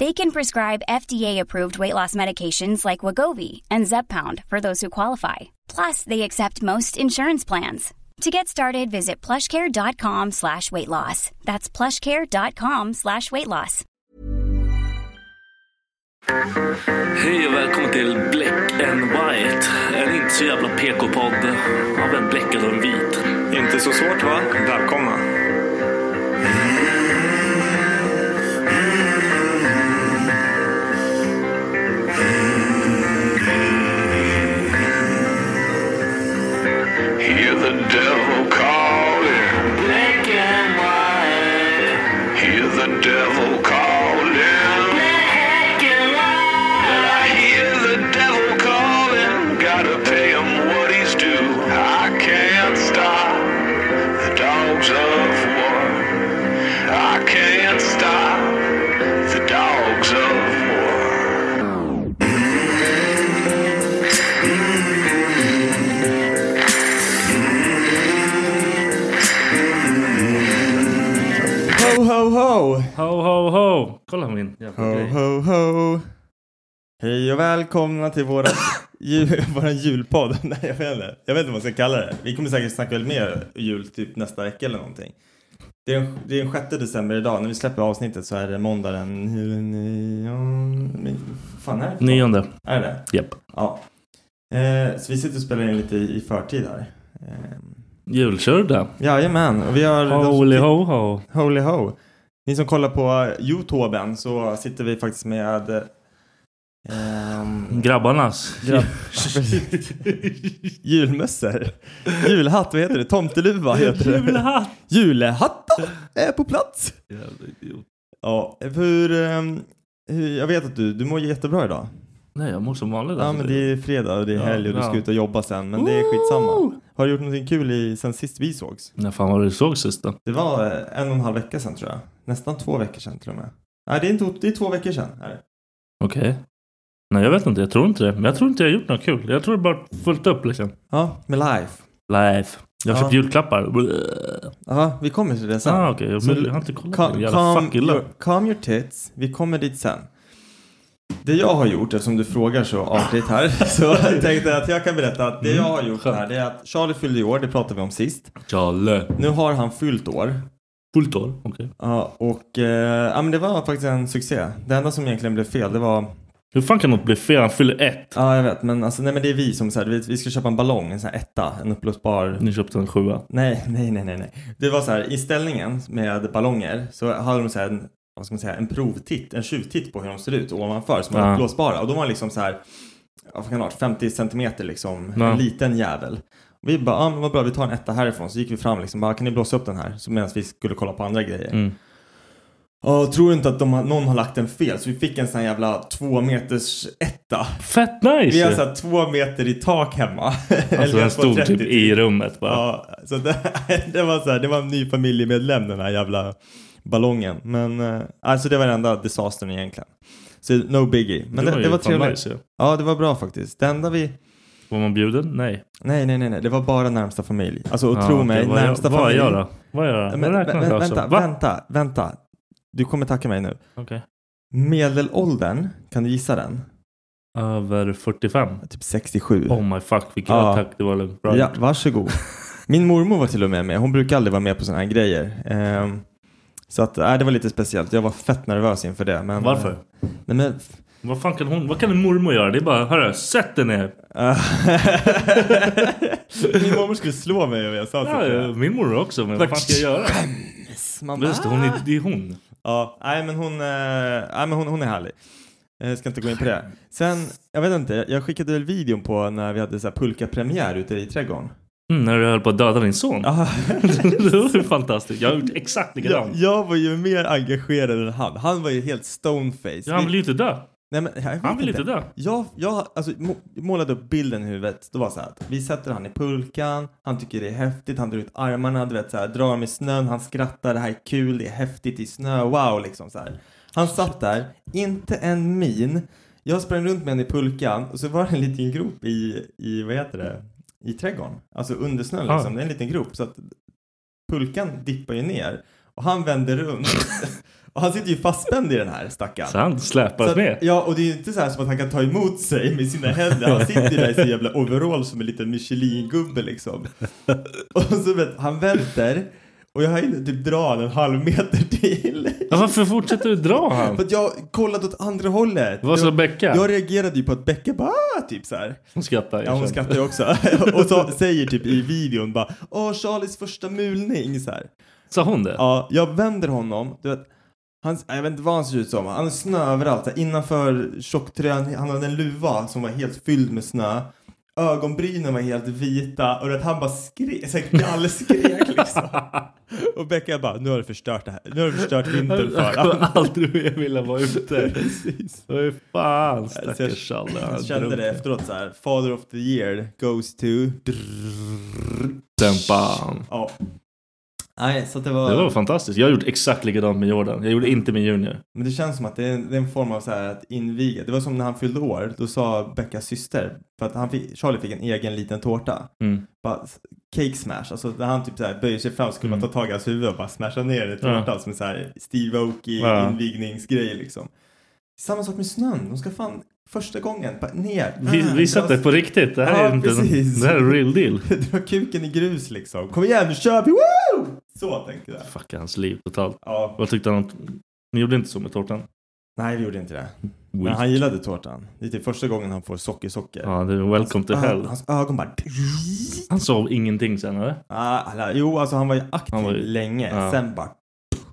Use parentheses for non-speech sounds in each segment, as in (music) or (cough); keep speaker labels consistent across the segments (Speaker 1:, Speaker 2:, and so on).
Speaker 1: They can prescribe FDA-approved weight loss medications like Wagovi and Zepbound for those who qualify. Plus, they accept most insurance plans. To get started, visit plushcare.com slash weight loss. That's plushcare.com slash weight loss.
Speaker 2: Hej och välkommen till Black and White. En inte så jävla PK-podd av en bläckad och en vit.
Speaker 3: Inte så svårt va? Välkomna.
Speaker 4: Hear the devil calling. Black and white. Hear the devil calling. Black and white. I hear the devil calling. Gotta pay him what he's due. I can't stop the dogs of war. I can't stop the dogs of war.
Speaker 3: Ho, ho, ho!
Speaker 2: Ho, ho, ho. Kolla min jävla
Speaker 3: Ho,
Speaker 2: grej.
Speaker 3: ho, ho! Hej och välkomna till (laughs) våra ju, våran julpodd. (laughs) Nej, jag vet inte. Jag vet inte vad man ska kalla det. Vi kommer säkert snacka väl mer jul typ nästa vecka eller någonting. Det är, den- det är den 6 december idag. När vi släpper avsnittet så är det måndag den... nionde- Fan är det? för-
Speaker 2: Nionde.
Speaker 3: Är det det?
Speaker 2: Japp.
Speaker 3: Ja. Eh, så vi sitter och spelar in lite i, i förtid här. Eh,
Speaker 2: Julkörda.
Speaker 3: jajamän. Och vi har...
Speaker 2: Holy ho ho.
Speaker 3: Holy ho! Ni som kollar på Youtuben så sitter vi faktiskt med...
Speaker 2: (laughs)
Speaker 3: ehm,
Speaker 2: Grabbarnas.
Speaker 3: Grabb- precis. julmössor. Julhatt, vad heter det? Tomteluva heter
Speaker 2: (laughs)
Speaker 3: det.
Speaker 2: Julhatt.
Speaker 3: Julhattar är på plats.
Speaker 2: Jävla idiot.
Speaker 3: Ja, hur, ehm, hur... Jag vet att du, du mår jättebra idag.
Speaker 2: Nej, jag mår som vanligt.
Speaker 3: Ja,
Speaker 2: alltså.
Speaker 3: men det är fredag och det är
Speaker 2: Ja,
Speaker 3: helg och du
Speaker 2: ja.
Speaker 3: ska ut och jobba sen. Men det är skitsamma. Har du gjort någonting kul i, sen sist vi sågs?
Speaker 2: När fan var det du såg sist då?
Speaker 3: Det var eh, en och en halv vecka sedan tror jag. Nästan två veckor sedan till och med. Nej, det är, inte, det är två veckor sedan. Är det.
Speaker 2: Okej. Nej, jag vet inte. Jag tror inte det. Men jag tror inte jag har gjort något kul. Jag tror det bara fullt upp liksom.
Speaker 3: Ja, med life.
Speaker 2: Life. Jag har
Speaker 3: Ja.
Speaker 2: köpt julklappar.
Speaker 3: Ja, vi kommer till det sen.
Speaker 2: Ah, okej.
Speaker 3: Så-
Speaker 2: Jag har inte kollat.
Speaker 3: Ca-
Speaker 2: Ka- jävla
Speaker 3: calm,
Speaker 2: fucking love.
Speaker 3: your, calm your tits. Vi kommer dit sen. Det jag har gjort, eftersom du frågar så artigt här, (laughs) så tänkte jag att jag kan berätta att det
Speaker 2: Mm,
Speaker 3: jag har gjort här, det är att Charlie fyllde i år, det pratade vi om sist.
Speaker 2: Challe.
Speaker 3: Nu har han fyllt år.
Speaker 2: Fullt år. Okej.
Speaker 3: Ja, och eh, ja, men det var faktiskt en succé. Det enda som egentligen blev fel, det var
Speaker 2: Hur fan kan något bli fel? Han fyller ett.
Speaker 3: Ja, jag vet. Men, alltså, nej, men det är vi som så här, vi, vi ska köpa en ballong, en sån här etta, en uppblåsbar.
Speaker 2: Ni köpte en sjua.
Speaker 3: Nej, nej, nej, nej, nej. Det var så här, i ställningen med ballonger så hade de så här, en, vad ska man säga, en provtitt, en tjuvtitt på hur de ser ut ovanför som var
Speaker 2: Ja.
Speaker 3: uppblåsbara. Och de var liksom så här, ja, vad kan det ha varit, 50 centimeter liksom,
Speaker 2: Ja.
Speaker 3: en liten jävel. Och vi bara, ah, men vad bra, vi tar en etta härifrån. Så gick vi fram liksom, bara, kan ni blåsa upp den här? Så medan vi skulle kolla på andra grejer.
Speaker 2: Mm.
Speaker 3: "Ja, tror du inte att de har, någon har lagt den fel? Så vi fick en sån här jävla två meters etta.
Speaker 2: Fett nice!
Speaker 3: Vi har
Speaker 2: ju.
Speaker 3: såhär två meter i tak hemma. (laughs)
Speaker 2: alltså den stod typ i rummet bara.
Speaker 3: Ja, så det, (laughs) det var så här, det var en ny familjemedlem den här jävla ballongen. Men eh, alltså det var den enda disastern egentligen. Så no biggie. Men
Speaker 2: Det
Speaker 3: det,
Speaker 2: var
Speaker 3: det,
Speaker 2: ju
Speaker 3: var
Speaker 2: fan
Speaker 3: trevligt.
Speaker 2: nice ju.
Speaker 3: ja, det var bra faktiskt. Det enda vi...
Speaker 2: Var man bjuden? Nej.
Speaker 3: Nej, nej, nej, nej. Det var bara närmsta familj. Alltså, och
Speaker 2: Ja,
Speaker 3: tro
Speaker 2: okej,
Speaker 3: mig,
Speaker 2: vad
Speaker 3: närmsta
Speaker 2: jag, vad
Speaker 3: familj.
Speaker 2: jag då? Vad jag då?
Speaker 3: Men,
Speaker 2: jag
Speaker 3: vä-
Speaker 2: räknar
Speaker 3: vä-
Speaker 2: inte alltså.
Speaker 3: vänta,
Speaker 2: Va?
Speaker 3: vänta, vänta. Du kommer tacka mig nu.
Speaker 2: Okej.
Speaker 3: Medelåldern, kan du gissa den?
Speaker 2: Över 45.
Speaker 3: Typ 67.
Speaker 2: Oh my fuck vilken
Speaker 3: Ja.
Speaker 2: attack det var lugnt. Bra.
Speaker 3: Ja, varsågod. Min mormor var till och med med. Hon brukar aldrig vara med på sådana här grejer. Ehm, så att, nej, det var lite speciellt. Jag var fett nervös inför det. Men, eh,
Speaker 2: Varför?
Speaker 3: Nej, men...
Speaker 2: Vad fan kan hon? Vad kan en mormor göra? Det är bara, hörru, sätt dig ner.
Speaker 3: (laughs) Min mormor skulle slå mig om jag sa
Speaker 2: Ja, ja, min mormor också, men vad fan ska jag göra? Just det, hon är, det är hon.
Speaker 3: Ja, nej men hon, eh, nej, men hon, hon är härlig. Jag ska inte gå in på det. Sen, jag vet inte, jag skickade väl videon på när vi hade så här pulka-premiär ute i trädgården.
Speaker 2: Mm, när du höll på att döda din son.
Speaker 3: Ah.
Speaker 2: (laughs) det var ju fantastiskt. Jag har gjort exakt
Speaker 3: Jag,
Speaker 2: likadant.
Speaker 3: jag var ju mer engagerad än han. Han var ju helt stoneface.
Speaker 2: Ja, han vill ju inte dö.
Speaker 3: Nej, men, jag vet
Speaker 2: Han vill inte dö.
Speaker 3: Jag, jag alltså, må- målade upp bilden i huvudet. Det var så här att vi sätter han i pulkan, han tycker det är häftigt, han drar ut armarna, du vet så här, drar med snön, han skrattar, det här är kul, det är häftigt i snö, wow liksom så här. Han satt där, inte en min. Jag sprang runt med henne i pulkan och så var det en liten grop i, i vad heter det, i trädgården. Alltså under snön
Speaker 2: Ja.
Speaker 3: liksom, det är en liten grop så att pulkan dippar ju ner och han vänder runt. (laughs) och han sitter ju fastspänd i den här stackaren.
Speaker 2: Så han
Speaker 3: Så
Speaker 2: släpas
Speaker 3: att,
Speaker 2: med.
Speaker 3: Ja, och det är ju inte så här som att han kan ta emot sig med sina händer. Han sitter ju där i sin jävla overall som en liten
Speaker 2: (laughs)
Speaker 3: Michelin-gubbe liksom. Och så vet, han välter och jag hinner typ dra han en halv meter till.
Speaker 2: Ja, varför fortsätter du dra han?
Speaker 3: För att jag kollade åt andra hållet.
Speaker 2: Vad sa
Speaker 3: jag,
Speaker 2: Becka?
Speaker 3: jag reagerade ju på att Becka bara "Ah", typ så här.
Speaker 2: Hon skrattar.
Speaker 3: Ja, hon
Speaker 2: erkänn.
Speaker 3: skrattar ju också. (laughs) och så säger typ i videon bara Åh, Charlies första mulning så här.
Speaker 2: Sa hon det?
Speaker 3: Ja, jag vänder honom. Du vet, han, jag vet inte vad han ser ut som. Han har snö överallt. så här, Innanför tjocktröjan. Han hade en luva som var helt fylld med snö. Ögonbrynen var helt vita. Och du vet, han bara skrek. Så här
Speaker 2: (laughs)
Speaker 3: gallskrek liksom. och Becka bara, nu har du förstört det här. Nu har du förstört vintern
Speaker 2: (laughs)
Speaker 3: för
Speaker 2: Jag kommer
Speaker 3: honom.
Speaker 2: aldrig mer vilja vara ute.
Speaker 3: Precis.
Speaker 2: Fy fan
Speaker 3: Så jag-
Speaker 2: stackars Challe. han har
Speaker 3: (laughs) Jag kände det
Speaker 2: drunknat.
Speaker 3: efteråt så här. Father of the year goes to...
Speaker 2: Sen bam.
Speaker 3: Ja. Nej, så att det
Speaker 2: Det
Speaker 3: var...
Speaker 2: var fantastiskt. Jag har gjort exakt likadant med Jordan. Jag gjorde inte med Junior.
Speaker 3: Men det känns som att det är en, det är en form av så här att inviga. Det var som när han fyllde år. Då sa Beckas syster, för att han fick, Charlie fick en egen liten tårta.
Speaker 2: Mm.
Speaker 3: Bara s- cake smash. Alltså när han typ så här böjer sig fram skulle man
Speaker 2: Mm.
Speaker 3: ta tag i hans huvud och bara smasha ner i tårtan som en så här Steve Aoki
Speaker 2: Ja.
Speaker 3: invigningsgrej liksom. Samma sak med snön. De ska fan första gången bara ner.
Speaker 2: Vi,
Speaker 3: Ah,
Speaker 2: vi satt
Speaker 3: dra-
Speaker 2: där på riktigt. Det här
Speaker 3: Ja,
Speaker 2: är inte
Speaker 3: precis.
Speaker 2: Det här är real deal.
Speaker 3: (laughs) Dra kuken i grus liksom. Kom igen nu kör vi! Woo! Så tänkte jag.
Speaker 2: Fucka hans liv totalt.
Speaker 3: Ja.
Speaker 2: Vad tyckte han? om- Ni gjorde inte så med tårtan?
Speaker 3: Nej vi gjorde inte det. Men
Speaker 2: Weak.
Speaker 3: han gillade tårtan. Det är typ första gången han får sockersocker.
Speaker 2: Ja, det är welcome to
Speaker 3: Hans-
Speaker 2: hell.
Speaker 3: Alltså, ah, Hans ögon bara... (laughs)
Speaker 2: Han sov ingenting sen eller?
Speaker 3: Ah, alla- jo, alltså han var ju aktiv
Speaker 2: Han var ju-
Speaker 3: länge.
Speaker 2: ja.
Speaker 3: Sen bara...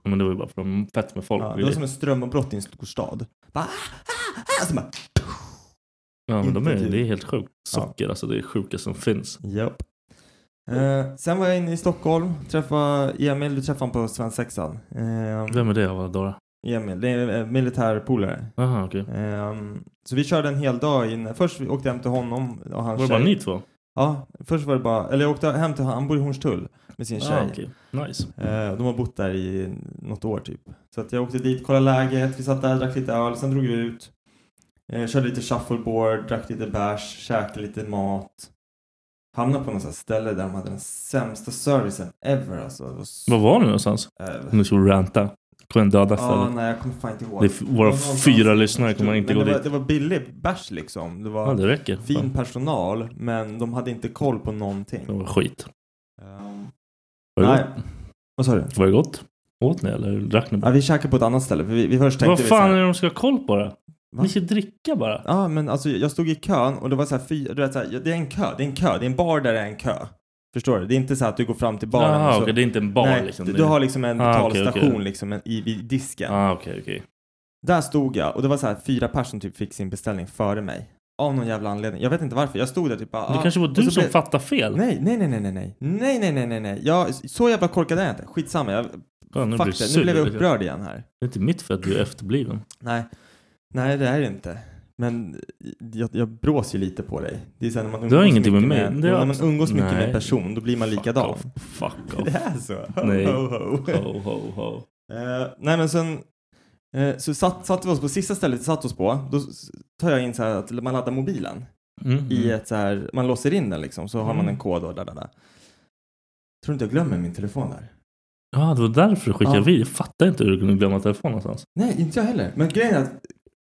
Speaker 2: Ja, Men det var ju bara för de fett med folk.
Speaker 3: Ja, det
Speaker 2: ville.
Speaker 3: var som en strömavbrott i en storstad. Bara... Ah, ah, ah, sen bara...
Speaker 2: ja, men de är,
Speaker 3: inte typ.
Speaker 2: det
Speaker 3: kul.
Speaker 2: är helt sjukt. Socker, alltså det är det sjukaste som finns.
Speaker 3: Japp. Eh, sen var jag inne i Stockholm. Träffade Emil. Du träffade honom på svensexan. Eh,
Speaker 2: Vem är det av Dora?
Speaker 3: Emil. Det är eh, militärpolare.
Speaker 2: Jaha, okej.
Speaker 3: Eh, så vi körde en hel dag in. Först vi åkte jag hem till honom och hans
Speaker 2: Var det bara
Speaker 3: tjej.
Speaker 2: ni två?
Speaker 3: Ja, först var det bara... Eller jag åkte hem till honom. Han bor i Hornstull med sin tjej.
Speaker 2: Ah, okej. Nice.
Speaker 3: Eh, De har bott där i något år typ. Så att jag åkte dit, kollade läget, vi satt där, drack lite öl, sen drog vi ut. Eh, Körde lite shuffleboard, drack lite bärs, käkade lite mat. Hamnade på något sånt här ställe där de hade den sämsta servicen ever alltså. Det var så-
Speaker 2: Var var ni någonstans?
Speaker 3: eh,
Speaker 2: Nu ska vi ranta. På en döda
Speaker 3: Ja,
Speaker 2: ställe.
Speaker 3: nej jag kommer fan inte ihåg.
Speaker 2: Det är f- våra
Speaker 3: Det var någonstans-
Speaker 2: fyra lyssnare kommer inte
Speaker 3: Men
Speaker 2: gå
Speaker 3: det
Speaker 2: dit.
Speaker 3: Var, det var billig bärs liksom. Det var
Speaker 2: Ja, det räcker.
Speaker 3: fin
Speaker 2: Fan,
Speaker 3: personal, men de hade inte koll på någonting.
Speaker 2: Det var skit.
Speaker 3: Ehm,
Speaker 2: Var det,
Speaker 3: nej.
Speaker 2: gott?
Speaker 3: Vad sa du?
Speaker 2: var det gott? Åt ni eller drack ni
Speaker 3: Ja,
Speaker 2: bara?
Speaker 3: vi käkade på ett annat ställe, för vi, vi först tänkte
Speaker 2: Vad
Speaker 3: vi så här-
Speaker 2: fan är det de ska ha koll på då?
Speaker 3: Va?
Speaker 2: Ni ska dricka bara.
Speaker 3: Ja, men alltså jag stod i kön och det var så här fyra, du vet så här, det är en kö, det är en kö, det är en bar där det är en kö. Förstår du? Det är inte så här att du går fram till baren.
Speaker 2: Jaha,
Speaker 3: och så,
Speaker 2: okej, det är inte en bar
Speaker 3: nej,
Speaker 2: liksom.
Speaker 3: Du,
Speaker 2: Det-
Speaker 3: du har liksom en
Speaker 2: Ah, okej,
Speaker 3: betalstation
Speaker 2: okej.
Speaker 3: liksom en- i, vid disken.
Speaker 2: Ah, okej, okej.
Speaker 3: Där stod jag och det var så här fyra personer som typ fick sin beställning före mig. Av någon jävla anledning. Jag vet inte varför. Jag stod där typ bara,
Speaker 2: Det
Speaker 3: ah.
Speaker 2: kanske var
Speaker 3: Och
Speaker 2: du
Speaker 3: så
Speaker 2: som
Speaker 3: blev-
Speaker 2: fattade fel.
Speaker 3: Nej, nej, nej, nej, nej, nej, nej, nej, nej, nej, nej. Jag, så jävla korkad är jag inte. Skitsamma, jag
Speaker 2: Fan, nu blir
Speaker 3: Fuck
Speaker 2: jag
Speaker 3: det.
Speaker 2: sur. liksom.
Speaker 3: Nu blev jag upprörd igen här.
Speaker 2: Det är inte mitt för att du är efterbliven.
Speaker 3: Nej, nej det är det inte. Men jag, jag brås ju lite på dig. Det är så här när man
Speaker 2: har
Speaker 3: umgås
Speaker 2: ingenting med
Speaker 3: mycket
Speaker 2: mig. Det har
Speaker 3: Jo, när man
Speaker 2: absolut-
Speaker 3: umgås mycket med
Speaker 2: Nej.
Speaker 3: en person, då blir man likadan.
Speaker 2: Fuck off. Fuck
Speaker 3: (laughs) Det
Speaker 2: off.
Speaker 3: är så. Ho,
Speaker 2: Nej.
Speaker 3: Ho, ho.
Speaker 2: ho, ho, ho.
Speaker 3: Eh, nej men sen eh, så satt, satt vi oss på sista stället vi satt oss på. Då s- tar jag in så här att man laddar mobilen
Speaker 2: Mm.
Speaker 3: i ett så här, man låser in den liksom så har man en kod och där, där, där. Tror du inte jag glömmer min telefon där?
Speaker 2: Ja, det var därför du skickade
Speaker 3: Ja.
Speaker 2: video. Jag fattar inte hur du kunde glömma telefonen någonstans.
Speaker 3: Nej, inte jag heller. Men grejen är, att-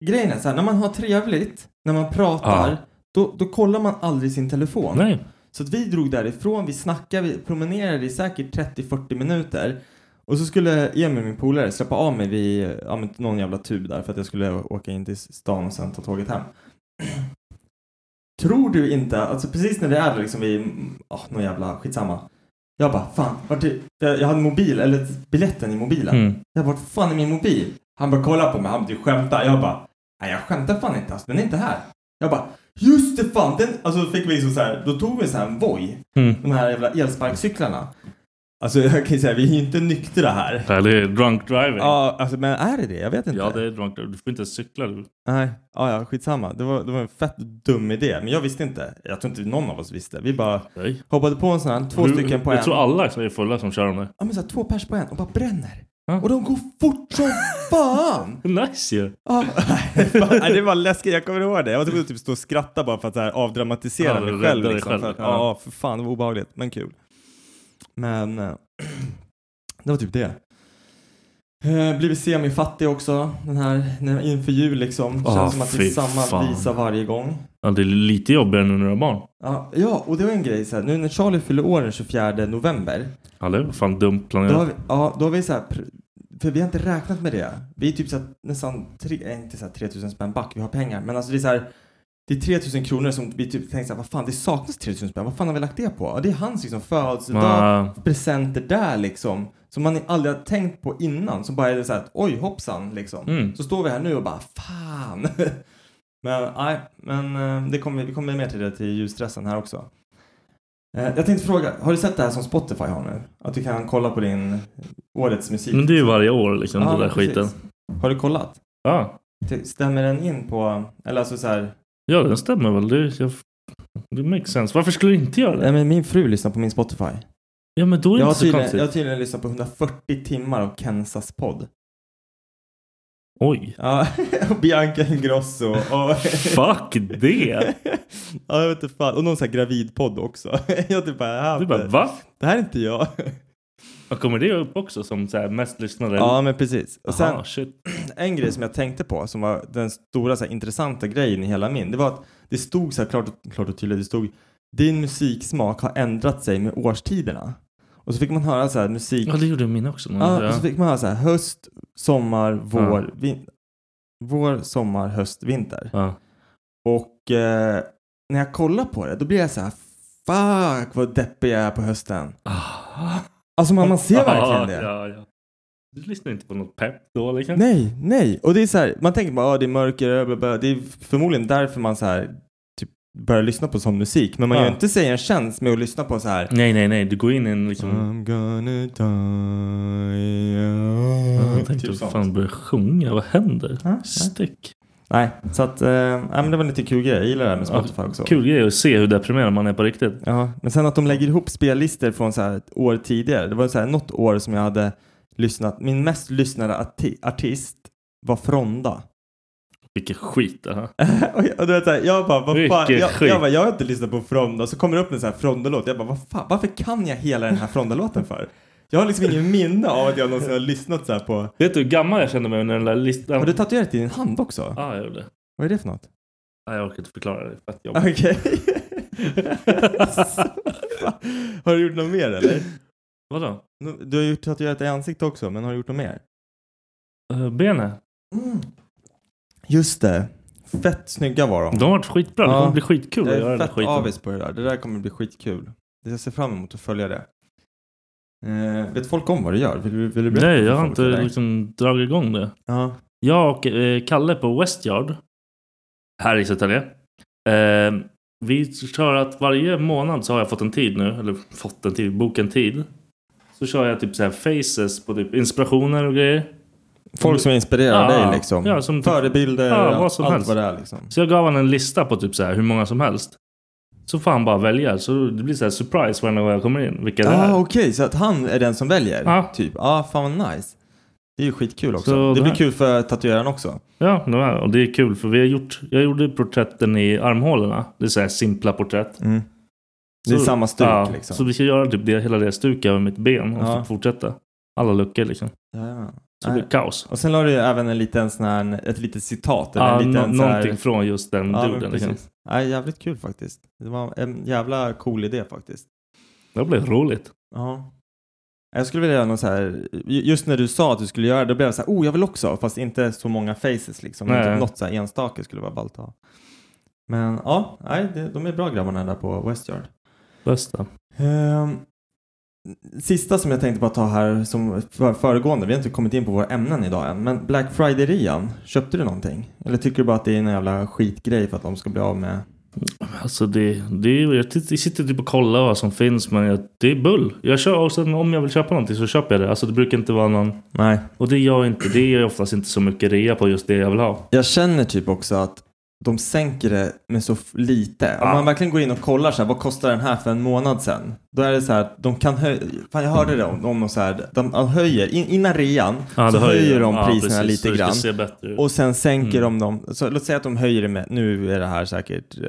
Speaker 3: grejen är så här, när man har trevligt, när man pratar,
Speaker 2: Ja.
Speaker 3: då, då kollar man aldrig sin telefon.
Speaker 2: Nej.
Speaker 3: Så att vi drog därifrån, vi snackade, vi promenerade i säkert 30-40 minuter. Och så skulle Emil, min polare, släppa av mig vid ja, men någon jävla tub där för att jag skulle åka in till stan och sen ta tåget hem. (clears throat) Tror du inte, alltså precis när vi är liksom vid, oh, någon jävla, skitsamma. Jag bara, fan, vart är, jag, jag hade mobil, eller biljetten i mobilen.
Speaker 2: Mm.
Speaker 3: Jag bara, vart fan är min mobil? Han bara kolla på mig, han bara, du skämtar. Jag bara, nej jag skämtar fan inte alltså, den är inte här. Jag bara, just det fan, den, alltså då fick vi liksom så här, då tog vi så här en Voi,
Speaker 2: Mm.
Speaker 3: de här jävla elsparkcyklarna. Alltså (laughs) jag kan ju säga, vi är ju inte nyktra här.
Speaker 2: Det här är drunk driving.
Speaker 3: Ja, alltså men är det det? Jag vet inte.
Speaker 2: Ja, det är drunk driving. Du får inte ens cykla. du.
Speaker 3: Nej, ja, ja, skitsamma. Det var, det var en fett dum idé, men jag visste inte. Jag tror inte någon av oss visste. Vi bara
Speaker 2: Nej.
Speaker 3: hoppade på en sån här, två
Speaker 2: Du-
Speaker 3: stycken på en.
Speaker 2: Jag tror alla som är fulla som kör de där. (laughs)
Speaker 3: Ja men så här, två pers på en och bara bränner.
Speaker 2: Ja.
Speaker 3: Och de går fort som (laughs) fan!
Speaker 2: Nice ju.
Speaker 3: Ja. (laughs) Nej, det var läskigt, jag kommer ihåg det. Jag var tvungen att typ stå och skratta bara för att så här, avdramatisera
Speaker 2: Ja,
Speaker 3: mig
Speaker 2: rädda
Speaker 3: själv.
Speaker 2: dig
Speaker 3: Liksom,
Speaker 2: själv,
Speaker 3: För att,
Speaker 2: ja.
Speaker 3: ja. för fan, det var obehagligt, men kul. Men eh, (clears throat) det var typ det. Eh, Blivit semifattig också, den här, den här inför jul liksom.
Speaker 2: Ah,
Speaker 3: Känns som att det är
Speaker 2: fy
Speaker 3: samma
Speaker 2: fan.
Speaker 3: visa varje gång.
Speaker 2: Ja, det är lite jobbigare nu när du har barn.
Speaker 3: Ja, ja, och det var en grej så här, nu när Charlie fyller år den 24 november.
Speaker 2: Ja, det var fan dumt
Speaker 3: Då har
Speaker 2: planerat.
Speaker 3: vi, ja, då har vi så här, pr- för vi har inte räknat med det. Vi är typ så här, nästan, tre, eh, inte så här 3000 spänn back, vi har pengar. Men alltså det är så här, det är 3000 kronor som vi typ tänker så här, vad fan det saknas 3000 spänn, vad fan har vi lagt det på? Ja, det är hans liksom födelsedag,
Speaker 2: Ja,
Speaker 3: presenter där liksom. Som man aldrig har tänkt på innan, som bara är det så här, att, oj hoppsan liksom.
Speaker 2: Mm.
Speaker 3: Så står vi här nu och bara, fan. (laughs) men nej, men eh, det kommer, vi kommer mer till det till ljusstressen här också. Eh, Jag tänkte fråga, har du sett det här som Spotify har nu? Att du kan kolla på din eh, årets musik?
Speaker 2: Men det är ju varje år liksom, den där
Speaker 3: precis.
Speaker 2: skiten.
Speaker 3: Har du kollat?
Speaker 2: Ja.
Speaker 3: Ty- Stämmer den in på, eller alltså så här,
Speaker 2: ja, den stämmer väl. Det, jag, det makes sense. Varför skulle du inte göra det?
Speaker 3: nej men min fru lyssnar på min Spotify.
Speaker 2: Ja, men då är det
Speaker 3: Jag har,
Speaker 2: inte så
Speaker 3: tydligen,
Speaker 2: konstigt.
Speaker 3: jag har tydligen lyssnat på 140 timmar av Kensas podd. (laughs)
Speaker 2: Oj.
Speaker 3: Ja, och Bianca Ingrosso och... (laughs)
Speaker 2: Fuck det!
Speaker 3: ja, jag vet inte fan. Och någon sån här gravidpodd också. (laughs) jag typ bara, "Ah,
Speaker 2: Du bara va?
Speaker 3: det här är inte jag.
Speaker 2: Och Kommer det upp också som så här mest lyssnade?
Speaker 3: ja, men precis. Och sen
Speaker 2: Aha, shit.
Speaker 3: en grej som jag tänkte på som var den stora så här, intressanta grejen i hela min. Det var att det stod så här klart, och- klart och tydligt. Det stod din musiksmak har ändrat sig med årstiderna. Och så fick man höra så här musik.
Speaker 2: Ja, det gjorde min också.
Speaker 3: Ja, och så
Speaker 2: ja.
Speaker 3: fick man höra så här höst, sommar, vår, vin- vår, sommar, höst, vinter.
Speaker 2: Ja.
Speaker 3: Och eh, när jag kollar på det då blir jag så här fuck vad deppig jag är på hösten.
Speaker 2: Ah.
Speaker 3: Alltså man, man ser verkligen
Speaker 2: Ja,
Speaker 3: det.
Speaker 2: ja, ja. Du lyssnar inte på något pepp då liksom?
Speaker 3: Nej, nej. Och det är så här, man tänker bara ah, det är mörker, bla, bla. det är förmodligen därför man så här typ börjar lyssna på sån musik. Men man
Speaker 2: Ja.
Speaker 3: gör inte sig en tjänst med att lyssna på så här
Speaker 2: Nej, nej, nej. Du går in i en liksom...
Speaker 3: I'm gonna die Typ
Speaker 2: Ja,
Speaker 3: young.
Speaker 2: jag tänkte fan börja sjunga. Vad händer?
Speaker 3: Ja, ja.
Speaker 2: Stick.
Speaker 3: Nej, så att eh, ja, men det var en lite kul grej. Jag gillar det här med Spotify också.
Speaker 2: Kul grej att se hur deprimerad man är på riktigt.
Speaker 3: Ja, men sen att de lägger ihop spellistor från så här ett år tidigare. Det var så här något år som jag hade lyssnat. Min mest lyssnade arti- artist var Fronda.
Speaker 2: Vilken skit det här.
Speaker 3: och jag, och du vet så här, jag bara, vad fan.
Speaker 2: Vilket
Speaker 3: Jag,
Speaker 2: skit.
Speaker 3: jag, bara, jag har inte lyssnat på Fronda. Så kommer det upp en så här Fronda-låt. Jag bara, vad fan, varför kan jag hela den här Fronda-låten för? Jag har liksom ingen minne av att jag någonsin har lyssnat så här på.
Speaker 2: Vet du hur gammal jag kände mig när den där listan...
Speaker 3: Har du tatuerat i din hand också?
Speaker 2: Ja, ah, jag gjorde det.
Speaker 3: Vad är det för något?
Speaker 2: Ah, jag orkar inte förklara det. Fett jobbigt.
Speaker 3: Okej. (laughs) har du gjort något mer eller?
Speaker 2: Vadå?
Speaker 3: Du har gjort tatuerat i ansiktet också, men har du gjort något mer?
Speaker 2: Uh, benet?
Speaker 3: Just det. Fett snygga var de.
Speaker 2: De har varit skitbra. Det
Speaker 3: Ja.
Speaker 2: kommer bli skitkul
Speaker 3: jag
Speaker 2: att göra
Speaker 3: är
Speaker 2: den där
Speaker 3: fett
Speaker 2: skiten.
Speaker 3: avis på det där. Det där kommer bli skitkul. Jag ser fram emot att följa det. Eh, vet folk om vad du gör? Vill, du- vill du berätta
Speaker 2: Nej,
Speaker 3: för
Speaker 2: jag har
Speaker 3: folk,
Speaker 2: inte
Speaker 3: eller?
Speaker 2: liksom dragit igång det.
Speaker 3: Ja.
Speaker 2: Jag och eh, Kalle på Westyard här i Södertälje. Eh, vi kör att varje månad så har jag fått en tid nu, eller fått en tid, boken tid. Så kör jag typ så här faces på typ inspirationer och grejer.
Speaker 3: Folk som inspirerar
Speaker 2: Ja,
Speaker 3: dig liksom.
Speaker 2: ja, som typ-
Speaker 3: Förebilder,
Speaker 2: Ja, vad som
Speaker 3: allt
Speaker 2: helst.
Speaker 3: vad det är liksom.
Speaker 2: Så jag gav honom en lista på typ så här hur många som helst. Så får han bara välja. Så det blir så här surprise varje gång jag kommer in. Vilka det
Speaker 3: ah,
Speaker 2: är.
Speaker 3: okej, så att han är den som väljer?
Speaker 2: Ja.
Speaker 3: Typ. Ja, ah, fan vad nice. Det är ju skitkul också.
Speaker 2: Så
Speaker 3: det
Speaker 2: det
Speaker 3: blir
Speaker 2: här-
Speaker 3: kul för tatueraren också.
Speaker 2: Ja, de här. och det är kul för vi har gjort. Jag gjorde porträtten i armhålorna. Det är så här simpla porträtt.
Speaker 3: Mm. Det är
Speaker 2: Så-
Speaker 3: samma stuk
Speaker 2: ja,
Speaker 3: liksom.
Speaker 2: Så vi ska göra typ det, hela det stuket över mitt ben och
Speaker 3: Ja.
Speaker 2: så fortsätta. Alla luckor liksom.
Speaker 3: Ja, ja.
Speaker 2: Så det blir
Speaker 3: Nej.
Speaker 2: kaos.
Speaker 3: Och sen la du ju även en liten sån här, ett litet citat. Eller
Speaker 2: Ja,
Speaker 3: en
Speaker 2: nå-
Speaker 3: liten så här-
Speaker 2: någonting från just den
Speaker 3: Ja, men
Speaker 2: duden.
Speaker 3: precis.
Speaker 2: Liksom.
Speaker 3: Nej, jävligt kul faktiskt. Det var en jävla cool idé faktiskt.
Speaker 2: Det blev roligt.
Speaker 3: Ja. Jag skulle vilja göra någon så här, ju- just när du sa att du skulle göra det, då blev jag så här, oh jag vill också, fast inte så många faces liksom.
Speaker 2: Nej.
Speaker 3: Typ något så här enstaka skulle vara ballt att ha. Men ja, nej, det, de är bra grabbarna där på Westyard.
Speaker 2: Bästa.
Speaker 3: Ehm, sista som jag tänkte bara ta här som för, föregående, vi har inte kommit in på våra ämnen idag än, men Black Friday-rean, köpte du någonting? Eller tycker du bara att det är en jävla skitgrej för att de ska bli av med?
Speaker 2: Alltså det, det är, jag titt- jag sitter typ och kollar vad som finns men jag, det är bull. Jag kör, och sen om jag vill köpa någonting så köper jag det. Alltså det brukar inte vara någon...
Speaker 3: Nej.
Speaker 2: Och det gör inte, det är oftast inte så mycket rea på just det jag vill ha.
Speaker 3: Jag känner typ också att de sänker det med så f- lite. Om man verkligen går in och kollar så här, vad kostar den här för en månad sedan? Då är det så här, att de kan höja, fan jag hörde det om, om de så här, de de höjer, in, innan rean
Speaker 2: Ja,
Speaker 3: så
Speaker 2: det
Speaker 3: höjer, de
Speaker 2: ja,
Speaker 3: priserna
Speaker 2: precis, så
Speaker 3: lite grann.
Speaker 2: Det ska se bättre ut.
Speaker 3: Och sen sänker
Speaker 2: Mm.
Speaker 3: de dem. Så låt säga att de höjer det med, nu är det här säkert eh,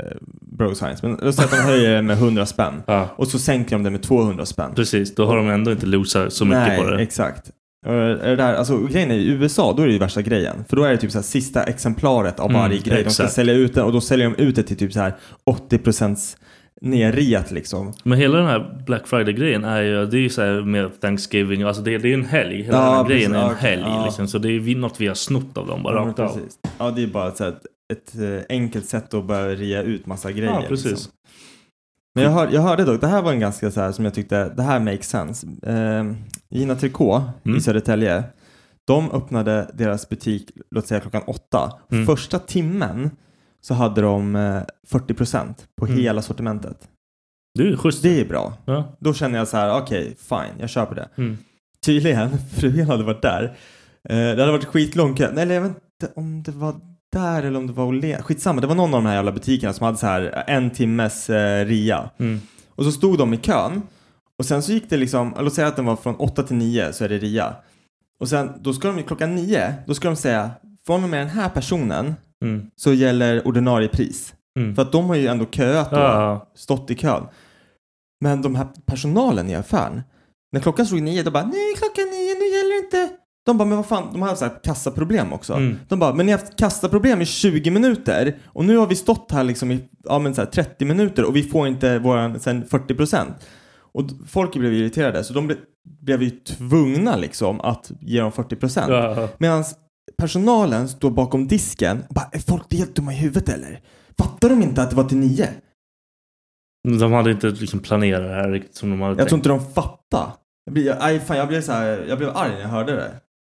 Speaker 3: bro science, men låt säga att de höjer det med 100 spänn.
Speaker 2: ja,
Speaker 3: Och så sänker de det med 200 spänn.
Speaker 2: precis, då har de ändå inte losat så mycket
Speaker 3: Nej,
Speaker 2: på det.
Speaker 3: exakt. Eh, är det där, alltså, grejen är i USA, då är det ju värsta grejen. För då är det typ så här, sista exemplaret av
Speaker 2: Mm,
Speaker 3: varje grej. De ska
Speaker 2: exakt.
Speaker 3: sälja ut den och då säljer de ut det till typ så här 80% nerreat liksom.
Speaker 2: Men hela den här Black Friday-grejen är ju, det är ju så här med Thanksgiving, alltså det, det är en helg. Hela
Speaker 3: Ja,
Speaker 2: den här
Speaker 3: precis,
Speaker 2: grejen är en
Speaker 3: ja,
Speaker 2: helg
Speaker 3: ja.
Speaker 2: liksom. Så det är vi- något vi har snott av dem bara
Speaker 3: Ja,
Speaker 2: rakt av.
Speaker 3: precis. ja, det är bara så här, ett, ett eh, enkelt sätt att börja rea ut massa grejer.
Speaker 2: Ja, precis.
Speaker 3: Liksom. Men jag, hör, jag hörde dock, det här var en ganska så här som jag tyckte, det här makes sense. Eh, Gina Tricot i
Speaker 2: Mm.
Speaker 3: Södertälje, de öppnade deras butik, låt säga klockan åtta.
Speaker 2: Mm.
Speaker 3: Första timmen så hade de eh, 40 procent på
Speaker 2: Mm.
Speaker 3: hela sortimentet.
Speaker 2: Det är ju schysst.
Speaker 3: Det är bra.
Speaker 2: Ja.
Speaker 3: Då känner jag så här, okej, fine, jag köper det.
Speaker 2: Mm.
Speaker 3: Tydligen, (laughs) frugan hade varit där. Eh, det hade varit skitlång kö. Nej, eller jag vet inte om det var där eller om det var Åhléns. Skitsamma, det var någon av de här jävla butikerna som hade så här en timmes eh, ria.
Speaker 2: Mm.
Speaker 3: Och så stod de i kön. Och sen så gick det liksom, låt säga att den var från 8 till 9 så är det ria. Och sen, då ska de ju klockan 9, då ska de säga från och med den här personen
Speaker 2: Mm.
Speaker 3: så gäller ordinarie pris.
Speaker 2: Mm.
Speaker 3: För att de har ju ändå köat och
Speaker 2: Ja,
Speaker 3: stått i kön. Men de här personalen i affären, när klockan slog nio, de bara nej klockan nio, nu gäller det inte. De bara men vad fan, de hade så här kassaproblem också.
Speaker 2: Mm.
Speaker 3: De bara men ni har haft kassaproblem i 20 minuter och nu har vi stått här liksom i ja, men så här 30 minuter och vi får inte våran sen 40 procent. Och d- folk blev irriterade så de ble, blev ju tvungna liksom att ge dem 40 procent.
Speaker 2: ja.
Speaker 3: Medan personalen står bakom disken och bara, är folk helt dumma i huvudet eller? Fattar de inte att det var till nio?
Speaker 2: De hade inte liksom planerat det här riktigt som de hade
Speaker 3: Jag
Speaker 2: tänkt.
Speaker 3: tror inte de fattar. Jag blir, jag, aj, fan, jag blev så här, jag blev arg när jag hörde det.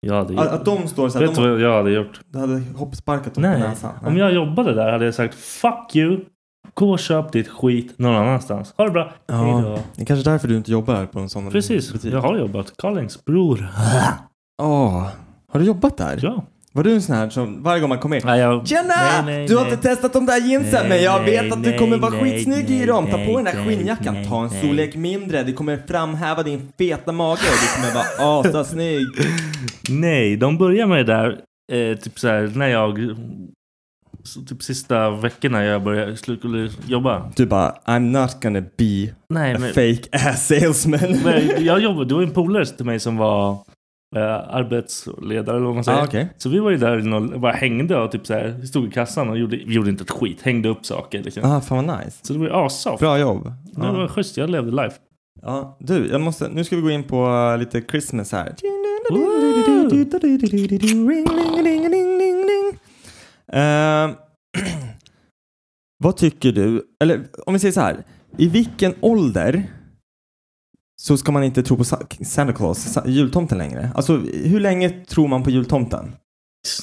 Speaker 2: Jag hade gjort.
Speaker 3: Att, att de står så här,
Speaker 2: Vet du
Speaker 3: de, Alltså,
Speaker 2: vad jag hade gjort?
Speaker 3: de hade hoppsparkat dem på
Speaker 2: Nej.
Speaker 3: näsan.
Speaker 2: Om jag jobbade där hade jag sagt fuck you. Gå och köp ditt skit någon annanstans. Ha det bra.
Speaker 3: ja,
Speaker 2: Hejdå.
Speaker 3: det är kanske därför du inte jobbar här på en sån
Speaker 2: Precis.
Speaker 3: butik.
Speaker 2: Jag har jobbat. Karlings bror.
Speaker 3: Åh, har du jobbat där?
Speaker 2: Ja.
Speaker 3: Var du en sån här som varje gång man kommer in
Speaker 2: Nej, jag...
Speaker 3: Tjena!
Speaker 2: Nej, nej,
Speaker 3: du har
Speaker 2: nej.
Speaker 3: inte testat de där jeansen
Speaker 2: Nej,
Speaker 3: men jag
Speaker 2: nej,
Speaker 3: vet att du
Speaker 2: nej,
Speaker 3: kommer vara
Speaker 2: nej,
Speaker 3: skitsnygg i
Speaker 2: nej,
Speaker 3: dem. Ta
Speaker 2: nej,
Speaker 3: på den där
Speaker 2: nej,
Speaker 3: skinnjackan,
Speaker 2: nej,
Speaker 3: ta en
Speaker 2: nej.
Speaker 3: storlek mindre. Det kommer framhäva din feta mage och du kommer
Speaker 2: (laughs)
Speaker 3: vara assnygg.
Speaker 2: Nej, de börjar med det där. Eh, typ så här när jag... Så typ sista veckorna jag började skulle jobba.
Speaker 3: Du bara, I'm not gonna be
Speaker 2: Nej,
Speaker 3: a
Speaker 2: men...
Speaker 3: fake ass salesman.
Speaker 2: Men jag jobbade, det var en polare till mig som var eh, arbetsledare eller vad man säger.
Speaker 3: Ah, okej.
Speaker 2: Så vi var ju där inne och bara hängde och typ så här, stod i kassan och gjorde, vi gjorde inte ett skit. Hängde upp saker liksom.
Speaker 3: ah, fan vad nice.
Speaker 2: Så det var ju assoft.
Speaker 3: Bra Ah. jobb.
Speaker 2: Det var
Speaker 3: Ja.
Speaker 2: schysst, jag levde life.
Speaker 3: Ja, du, jag måste, nu ska vi gå in på eh, lite Christmas här. Eh, (clears throat) vad tycker du, eller om vi säger så här, i vilken ålder så ska man inte tro på Sa- Santa Claus, Sa- jultomten längre? Alltså hur länge tror man på jultomten?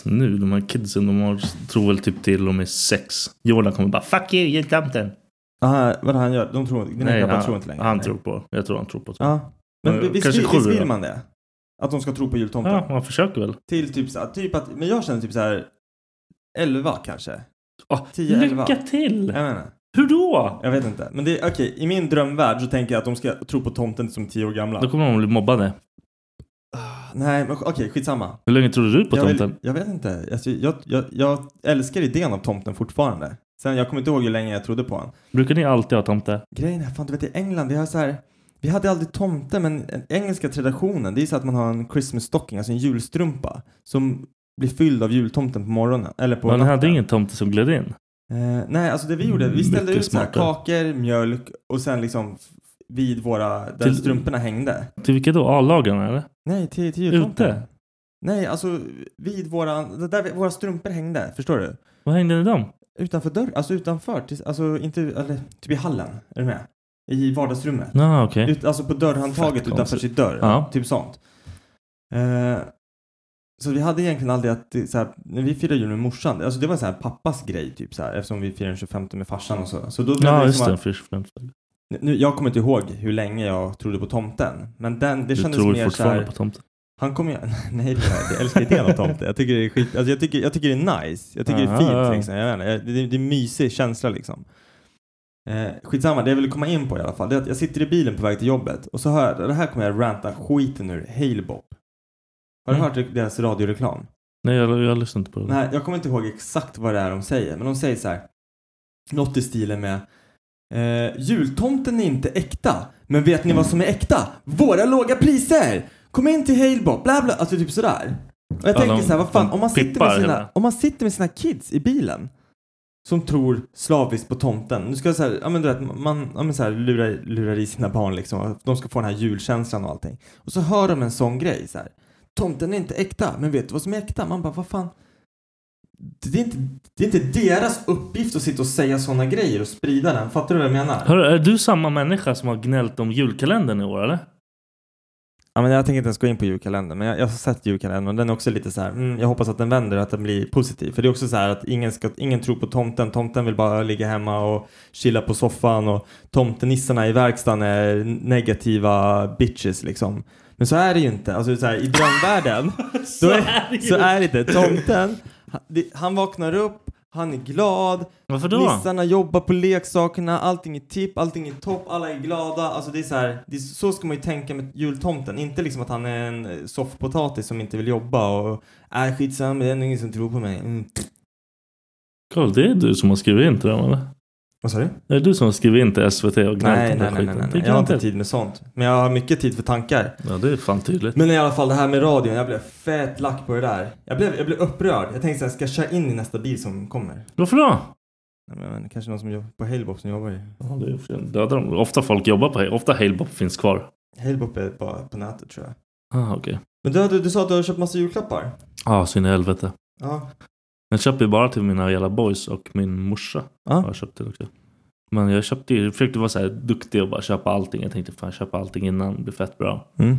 Speaker 2: Nu, de här kidsen, de har, tror väl typ till och med sex. Jordan kommer bara 'Fuck you, jultomten!'
Speaker 3: Aha, vad han gör, de tror, dina grabbar
Speaker 2: han,
Speaker 3: tror inte längre?
Speaker 2: han tror på. Jag tror han tror på.
Speaker 3: Ja, Men visst,
Speaker 2: kanske
Speaker 3: visst,
Speaker 2: sju
Speaker 3: vill
Speaker 2: då.
Speaker 3: man det? Att de ska tro på jultomten?
Speaker 2: Ja, man försöker väl.
Speaker 3: Till typ så här, typ att, men jag känner typ så här 11 kanske.
Speaker 2: Ah,
Speaker 3: 10, elva.
Speaker 2: lycka till!
Speaker 3: Jag menar,
Speaker 2: Hur då?
Speaker 3: jag vet inte. Men det är okej, i min drömvärld så tänker jag att de ska tro på tomten som 10 år gamla.
Speaker 2: Då kommer de bli mobbade.
Speaker 3: Nej, men okej, skitsamma.
Speaker 2: Hur länge trodde du på
Speaker 3: jag, vill-
Speaker 2: tomten?
Speaker 3: jag vet inte. Alltså, jag, jag, jag älskar idén av tomten fortfarande. Sen, jag kommer inte ihåg hur länge jag trodde på honom.
Speaker 2: Brukar ni alltid ha tomte?
Speaker 3: Grejen är, fan du vet i England, vi har så här, vi hade aldrig tomte men den engelska traditionen det är så att man har en Christmas stocking, alltså en julstrumpa som blir fylld av jultomten på morgonen. Eller på
Speaker 2: Man
Speaker 3: natten.
Speaker 2: hade ingen tomte som gled in.
Speaker 3: Eh, nej, alltså det vi gjorde, vi ställde
Speaker 2: Mm, Mycket
Speaker 3: ut så här,
Speaker 2: smartare.
Speaker 3: kakor, mjölk och sen liksom f- vid våra, där
Speaker 2: Till-
Speaker 3: strumporna hängde.
Speaker 2: Till vilka då? A-lagen eller?
Speaker 3: Nej, till, till jultomten.
Speaker 2: Ute?
Speaker 3: Nej, alltså vid våra, där vi, våra strumpor hängde, förstår du?
Speaker 2: Vad hängde ni dem?
Speaker 3: Utanför dörren, alltså utanför, till, alltså inte, eller typ i hallen, är du med? I vardagsrummet.
Speaker 2: Ja, okej.
Speaker 3: Ut, alltså på dörrhandtaget
Speaker 2: Fett
Speaker 3: utanför
Speaker 2: konstigt.
Speaker 3: sitt dörr.
Speaker 2: Ja.
Speaker 3: Typ sånt. Eh, så vi hade egentligen aldrig att, det- så här, när vi firade jul med morsan, alltså det var så här pappas grej typ så här, eftersom vi firade den 25 med farsan och så. Så då blev
Speaker 2: Ja,
Speaker 3: det
Speaker 2: just
Speaker 3: liksom
Speaker 2: det.
Speaker 3: att,
Speaker 2: Fish Friends.
Speaker 3: nu, jag kommer inte ihåg hur länge jag trodde på tomten, men den, det
Speaker 2: Du
Speaker 3: kändes
Speaker 2: tror
Speaker 3: mer så
Speaker 2: fortfarande
Speaker 3: här,
Speaker 2: på tomten.
Speaker 3: han kommer ju, (laughs) nej det är- jag älskar idén om tomten. Jag tycker det är skit, alltså jag tycker, jag tycker det är nice. Jag tycker det är
Speaker 2: Ja,
Speaker 3: fint
Speaker 2: ja.
Speaker 3: liksom. Jag vet inte, jag- det, det är en mysig känsla liksom. Eh, skitsamma, det jag ville komma in på i alla fall, det är att jag sitter i bilen på väg till jobbet och så hör jag, det här kommer jag ranta skiten ur Halebop. Har du
Speaker 2: Mm.
Speaker 3: hört deras radioreklam?
Speaker 2: Nej, jag, jag lyssnar inte på det.
Speaker 3: Nej, jag kommer inte ihåg exakt vad det är de säger, men de säger så här. Något i stilen med eh, Jultomten är inte äkta, men vet ni vad som är äkta? Våra låga priser! Kom in till Halebop, bla bla, alltså typ sådär. Och jag
Speaker 2: Ja,
Speaker 3: tänker
Speaker 2: de-
Speaker 3: så här, vad fan,
Speaker 2: de
Speaker 3: om man, sitter med
Speaker 2: pippar
Speaker 3: sina,
Speaker 2: hela.
Speaker 3: om man sitter med sina kids i bilen som tror slaviskt på tomten. Nu ska jag så här, ja men du vet, man ja, men så här, lurar, lurar i sina barn liksom. att De ska få den här julkänslan och allting. Och så hör de en sån grej så här. Tomten är inte äkta, men vet du vad som är äkta? Man bara, vad fan? Det är, inte, det är inte deras uppgift att sitta och säga såna grejer och sprida den. Fattar du vad jag menar?
Speaker 2: Hörru, är du samma människa som har gnällt om julkalendern i år eller?
Speaker 3: Ja, men jag tänker inte ens gå in på julkalendern, men jag, jag har sett julkalendern och den är också lite så här, mm, jag hoppas att den vänder och att den blir positiv. För det är också så här att ingen, ska, ingen tror på tomten, tomten vill bara ligga hemma och chilla på soffan och tomtenissarna i verkstaden är negativa bitches liksom. Men så är det ju inte, alltså
Speaker 2: (laughs)
Speaker 3: så här, i drömvärlden så,
Speaker 2: är det
Speaker 3: är,
Speaker 2: ju
Speaker 3: så är det inte. Tomten, han, det- han vaknar upp, han är glad,
Speaker 2: Varför då?
Speaker 3: Nissarna jobbar på leksakerna, allting är tipp, allting är topp, alla är glada. Alltså det är så här, det är, så ska man ju tänka med jultomten. Inte liksom att han är en eh, soffpotatis som inte vill jobba och är skitsamma, det är ingen som tror på mig. Mm.
Speaker 2: Carl, det är du som har skrivit in till dem eller?
Speaker 3: Vad sa du?
Speaker 2: Är det du som har skrivit in till SVT och gnällt
Speaker 3: Nej, nej,
Speaker 2: om den
Speaker 3: nej, nej,
Speaker 2: skiten?
Speaker 3: nej,
Speaker 2: Det
Speaker 3: nej.
Speaker 2: kan
Speaker 3: Jag har
Speaker 2: man
Speaker 3: inte
Speaker 2: inte-
Speaker 3: tid med sånt. Men jag har mycket tid för tankar.
Speaker 2: Ja, det är fan tydligt.
Speaker 3: Men i alla fall det här med radion, jag blev fett lack på det där. Jag blev, jag blev upprörd. Jag tänkte såhär, ska jag köra in i nästa bil som kommer?
Speaker 2: Varför då?
Speaker 3: Nej, men, men, kanske någon som jobbar på Halebop som jobbar i...
Speaker 2: Ja, det är för- Dödar de? Ofta folk jobbar på Ofta Halebop finns kvar.
Speaker 3: Halebop är bara på nätet tror jag.
Speaker 2: Ah, okej.
Speaker 3: Men du, du, du sa att du har köpt massa julklappar.
Speaker 2: Ah, så in i helvete.
Speaker 3: Ja.
Speaker 2: Jag köper ju bara till mina jävla boys och min morsa.
Speaker 3: Ja.
Speaker 2: har Jag köpt det också. Men jag köpte ju, jag försökte vara så här duktig och bara köpa allting. Jag tänkte fan köpa allting innan, det blir fett bra.
Speaker 3: Mm.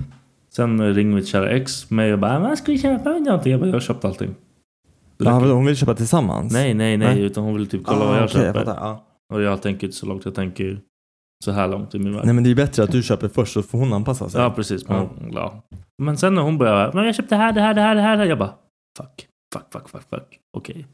Speaker 2: Sen ringer mitt kära ex mig och bara vad ska vi köpa för någonting? Jag bara jag har köpt allting. Det
Speaker 3: Ja,
Speaker 2: räcker.
Speaker 3: vadå, hon vill köpa tillsammans?
Speaker 2: Nej, nej, nej,
Speaker 3: Nej.
Speaker 2: utan hon vill typ kolla
Speaker 3: Ah,
Speaker 2: vad jag
Speaker 3: okej,
Speaker 2: köper.
Speaker 3: fattar, ja.
Speaker 2: och jag tänker inte så långt, jag tänker så här långt i min värld.
Speaker 3: Nej men det är ju bättre att du köper först så får hon anpassa sig.
Speaker 2: Ja, precis. Men,
Speaker 3: Ja.
Speaker 2: ja. men sen när hon började, men jag köpte det här, det här, det här, det här. Jag bara, fuck, fuck, fuck, fuck, fuck. Okej,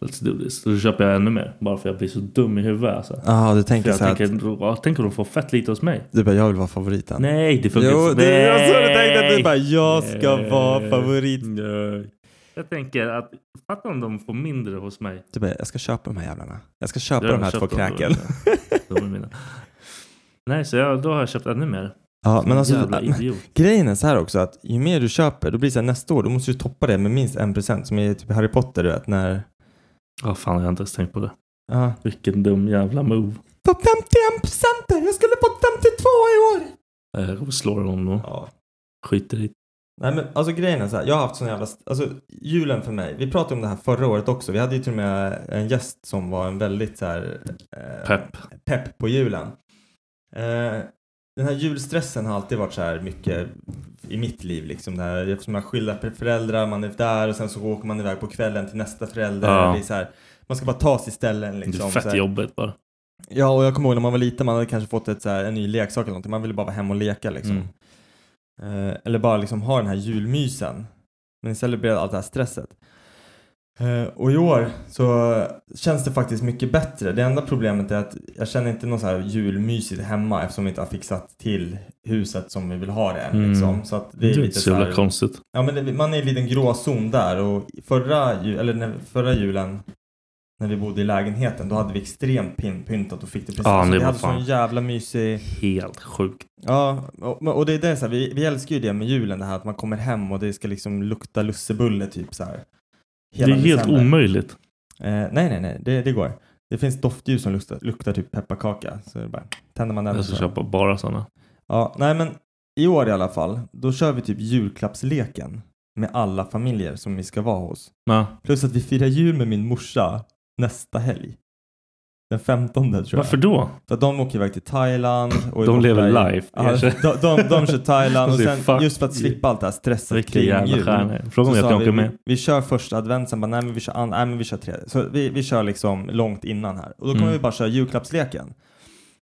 Speaker 2: let's do this. Då köper jag ännu mer. Bara för jag blir så dum i huvudet alltså.
Speaker 3: ah, du
Speaker 2: För
Speaker 3: tänker
Speaker 2: jag
Speaker 3: så här
Speaker 2: tänker,
Speaker 3: att
Speaker 2: ja, tänk om de får fett lite hos mig.
Speaker 3: du bara, jag vill vara favoriten.
Speaker 2: Nej, det funkar
Speaker 3: Jo,
Speaker 2: inte.
Speaker 3: det jag så du tänkte att du
Speaker 2: Nej.
Speaker 3: bara, jag ska
Speaker 2: Nej.
Speaker 3: vara favorit.
Speaker 2: Nej. Jag tänker att, fatta om de får mindre hos mig.
Speaker 3: Du bara, jag ska köpa de här jävlarna. Jag ska köpa
Speaker 2: Jag har
Speaker 3: de här
Speaker 2: köpt
Speaker 3: två
Speaker 2: dem då.
Speaker 3: kräken.
Speaker 2: De är mina. Nej, så jag, då har jag köpt ännu mer.
Speaker 3: Ja, men alltså,
Speaker 2: Jävla idiot.
Speaker 3: grejen är så här också att ju mer du köper, då blir det så här nästa år, då måste du toppa det med minst en procent som är typ Harry Potter, du vet, när...
Speaker 2: Ja, fan, jag har inte ens tänkt på det.
Speaker 3: Ja.
Speaker 2: Vilken dum jävla move.
Speaker 3: På 51 procenten! Jag skulle på 52 i år!
Speaker 2: Eh, Jag kommer slå honom då.
Speaker 3: Ja,
Speaker 2: Skiter i.
Speaker 3: Nej men alltså grejen är så här, jag har haft sån jävla, alltså julen för mig, vi pratade om det här förra året också, vi hade ju till och med en gäst som var en väldigt så här eh,
Speaker 2: Pepp.
Speaker 3: pepp på julen. Eh, den här julstressen har alltid varit så här mycket i mitt liv liksom, det här, eftersom man skiljer på föräldrar, man är där och sen så åker man iväg på kvällen till nästa förälder,
Speaker 2: Ja.
Speaker 3: det är så här, man ska bara ta sig ställen liksom.
Speaker 2: det är
Speaker 3: så
Speaker 2: fett
Speaker 3: här.
Speaker 2: jobbigt bara.
Speaker 3: Ja, och jag kommer ihåg när man var liten, man hade kanske fått ett, så här, en ny leksak eller någonting. Man ville bara vara hemma och leka liksom.
Speaker 2: Mm.
Speaker 3: Eh, eller bara liksom ha den här julmysen. Men celebrera allt det här stresset. Eh, och i år så känns det faktiskt mycket bättre. Det enda problemet är att jag känner inte någon så här julmysigt hemma eftersom vi inte har fixat till huset som vi vill ha det. än,
Speaker 2: Mm.
Speaker 3: Liksom. Så att det är lite
Speaker 2: så
Speaker 3: så
Speaker 2: jävla
Speaker 3: här,
Speaker 2: konstigt.
Speaker 3: ja, men det, man är i en liten gråzon där och förra, ju- eller när, förra julen när vi bodde i lägenheten då hade vi extremt pin- pyntat och fick det precis.
Speaker 2: Ja,
Speaker 3: så
Speaker 2: det
Speaker 3: vi
Speaker 2: var
Speaker 3: hade
Speaker 2: fan.
Speaker 3: sån jävla mysig
Speaker 2: Helt sjukt.
Speaker 3: Ja, och, men- och det är det så här, vi, vi älskar ju det med julen det här att man kommer hem och det ska liksom lukta lussebulle typ så här.
Speaker 2: det är helt
Speaker 3: december.
Speaker 2: omöjligt.
Speaker 3: Eh, nej, nej, nej, det, det går. Det finns doftljus som luktar, luktar typ pepparkaka. Så det är bara, tänder man den
Speaker 2: Jag ska
Speaker 3: så-
Speaker 2: köpa bara sådana.
Speaker 3: Ja, nej men i år i alla fall, då kör vi typ julklappsleken med alla familjer som vi ska vara hos.
Speaker 2: Men,
Speaker 3: Plus att vi firar jul med min morsa nästa helg. Den 15 tror jag.
Speaker 2: varför då?
Speaker 3: För att de åker iväg till Thailand. Och är
Speaker 2: De
Speaker 3: borta
Speaker 2: lever
Speaker 3: i-
Speaker 2: life.
Speaker 3: Ja, de, de, de
Speaker 2: (laughs)
Speaker 3: kör Thailand och
Speaker 2: De säger,
Speaker 3: sen
Speaker 2: "Fuck
Speaker 3: just för att
Speaker 2: you."
Speaker 3: slippa allt det här stresset
Speaker 2: Vilken
Speaker 3: kring
Speaker 2: jävla
Speaker 3: jul.
Speaker 2: stjärna. Fråga om
Speaker 3: så
Speaker 2: jag
Speaker 3: sa
Speaker 2: kan
Speaker 3: vi,
Speaker 2: åka med.
Speaker 3: Vi, vi kör första advent, sen bara nej men vi kör, an, nej, men vi kör tredje. Så vi, vi kör liksom långt innan här. Och då kommer
Speaker 2: Mm.
Speaker 3: vi bara köra julklappsleken.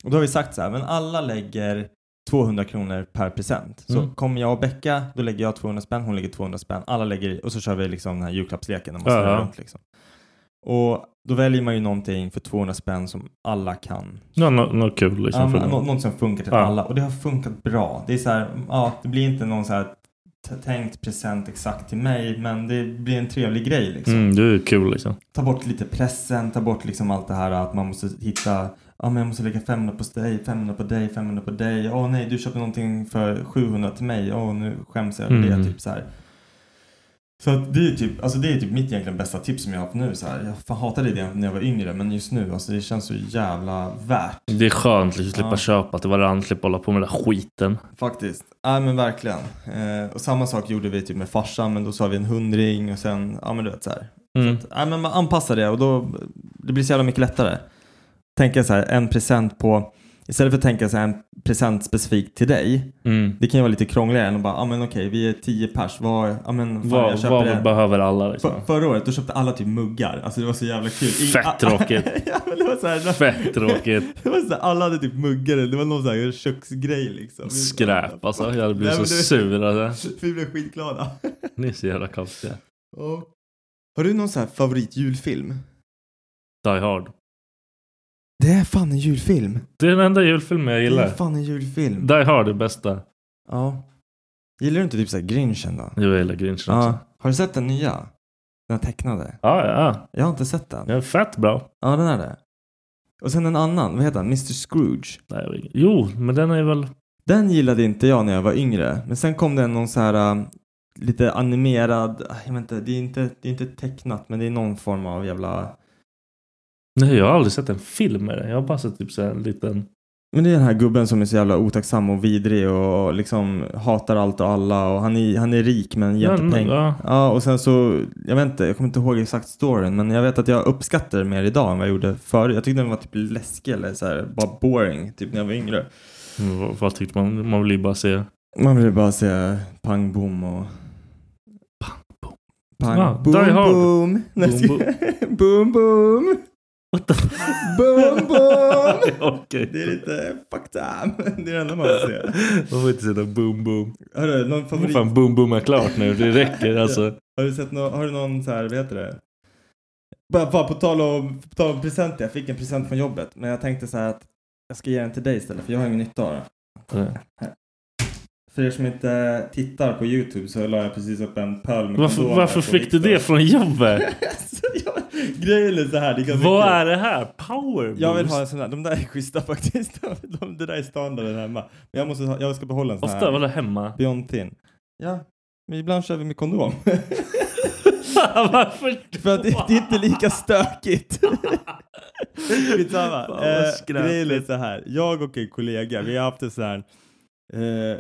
Speaker 3: Och då har vi sagt så här, men alla lägger 200 kronor per present. Så
Speaker 2: Mm.
Speaker 3: kommer jag och Becka, då lägger jag 200 spänn, hon lägger 200 spänn. Alla lägger och så kör vi liksom den här julklappsleken när man
Speaker 2: Ja,
Speaker 3: snurrar
Speaker 2: ja.
Speaker 3: runt liksom. Och då väljer man ju någonting för 200 spänn som alla kan
Speaker 2: Ja, nå- Något kul liksom.
Speaker 3: Ja,
Speaker 2: för
Speaker 3: men
Speaker 2: dem.
Speaker 3: nå- något som funkar till
Speaker 2: Ja.
Speaker 3: alla och det har funkat bra. Det är så här, ja, det blir inte någon så här t- tänkt present exakt till mig men det blir en trevlig grej liksom.
Speaker 2: Mm, det är kul liksom.
Speaker 3: Ta bort lite pressen, ta bort liksom allt det här att man måste hitta, ja men jag måste lägga 500 på dig, 500 på dig, 500 på dig. Åh nej, du köpte någonting för 700 till mig. Åh nu skäms jag över
Speaker 2: Mm.
Speaker 3: det. Typ så här. Så att det är typ, alltså det är typ mitt egentligen bästa tips som jag har haft nu. Så här. Jag fan hatade det när jag var yngre men just nu, alltså det känns så jävla värt.
Speaker 2: Det är skönt liksom, att slippa
Speaker 3: Ja.
Speaker 2: köpa till varandra, slippa hålla på med den där skiten.
Speaker 3: Faktiskt. Ja men verkligen. Eh, och samma sak gjorde vi typ med farsan men då sa vi en hundring och sen, ja men du vet så här.
Speaker 2: Mm.
Speaker 3: Ja men man anpassar det och då, det blir så jävla mycket lättare. Tänka så här, en present på, istället för att tänka så här, en present specifikt till dig.
Speaker 2: Mm.
Speaker 3: Det kan ju vara lite krångligare än att bara, ja men okej vi är tio pers, vad, ja men fan, jag
Speaker 2: Vad,
Speaker 3: köper
Speaker 2: vad
Speaker 3: det.
Speaker 2: behöver alla liksom?
Speaker 3: För, förra året då köpte alla typ muggar, alltså det var så jävla kul. Ing-
Speaker 2: Fett tråkigt.
Speaker 3: (laughs) ja, men det var så här,
Speaker 2: Fett tråkigt.
Speaker 3: (laughs) Det var så här, alla hade typ muggar, det var någon så här köksgrej liksom.
Speaker 2: Skräp alltså. Jag hade blivit
Speaker 3: Nej,
Speaker 2: så
Speaker 3: men du-
Speaker 2: sur alltså.
Speaker 3: (laughs) Vi blev skitglada.
Speaker 2: Ni är så jävla konstiga.
Speaker 3: Har du någon sån här favoritjulfilm?
Speaker 2: Die Hard.
Speaker 3: Det är fan en julfilm.
Speaker 2: Det är den enda julfilmen jag
Speaker 3: Det
Speaker 2: gillar.
Speaker 3: är fan en julfilm.
Speaker 2: Die Hard är bästa.
Speaker 3: ja. Gillar du inte typ såhär Grinchen då?
Speaker 2: Jo, jag gillar Grinchen också.
Speaker 3: Ja. Har du sett den nya? Den här tecknade?
Speaker 2: Ja, ja.
Speaker 3: Jag har inte sett den. Ja,
Speaker 2: Den är fett bra.
Speaker 3: den är det. Och sen en annan, vad heter han? Mr Scrooge.
Speaker 2: Nej, jag vet- jo, men den är väl...
Speaker 3: Den gillade inte jag när jag var yngre. Men sen kom det någon så här um, lite animerad, ah, jag vet inte, det är inte, det är inte tecknat men det är någon form av jävla...
Speaker 2: Nej, jag har aldrig sett en film med den. Jag har bara sett typ så här en liten...
Speaker 3: Men det är den här gubben som är så jävla otacksam och vidrig och liksom hatar allt och alla och han är, han är rik men ger
Speaker 2: Den-
Speaker 3: inte pengar.
Speaker 2: ja.
Speaker 3: Ja, och sen så, jag vet inte, jag kommer inte ihåg exakt storyn, men jag vet att jag uppskattar det mer idag än vad jag gjorde förr. Jag tyckte den var typ läskig eller så här, bara boring, typ när jag var yngre.
Speaker 2: Men vad, vad tyckte man? Man vill ju bara se...
Speaker 3: Man ville bara säga pang bom och... Pang
Speaker 2: Ja,
Speaker 3: boom.
Speaker 2: Die
Speaker 3: Pang
Speaker 2: Hard.
Speaker 3: boom
Speaker 2: Boom, boom.
Speaker 3: boom. boom boom.
Speaker 2: What the...
Speaker 3: (laughs) Boom
Speaker 2: (laughs)
Speaker 3: boom.
Speaker 2: Okej.
Speaker 3: Det är lite fucked up. Det är det enda man vill se.
Speaker 2: Man får inte sätta boom boom.
Speaker 3: Har du någon
Speaker 2: Vad
Speaker 3: favorit?
Speaker 2: fan boom boom är klart nu. Det räcker alltså.
Speaker 3: Har du sett någon, har du någon så här, vad heter det? Bara, bara på, tal om, på tal om presenter, jag fick en present från jobbet. Men jag tänkte så här att jag ska ge den till dig istället för jag har ingen nytta av den. För er som inte tittar på YouTube så la jag precis upp en pöl med
Speaker 2: Varför,
Speaker 3: kondomer
Speaker 2: varför
Speaker 3: på
Speaker 2: fick du
Speaker 3: Victor.
Speaker 2: det
Speaker 3: (laughs)
Speaker 2: från jobbet?
Speaker 3: Alltså, jag, grejen är så här, det är ganska
Speaker 2: Vad
Speaker 3: kul.
Speaker 2: är det här? Power boost?
Speaker 3: Jag vill ha en sån här, de där är schyssta (laughs) faktiskt. De, det där är standarden hemma. Men jag, måste ha, jag ska behålla en sån
Speaker 2: Ofta var
Speaker 3: här.
Speaker 2: det hemma. (laughs)
Speaker 3: Beyond Thin. Ja, men ibland kör vi med kondom. (laughs)
Speaker 2: varför då?
Speaker 3: För att det, det är inte lika stökigt.
Speaker 2: Fan,
Speaker 3: (laughs) Skitsamma.
Speaker 2: vad
Speaker 3: Eh,
Speaker 2: skräpigt.
Speaker 3: grejen är så här. Jag och en kollega, vi har haft en sån här... Eh,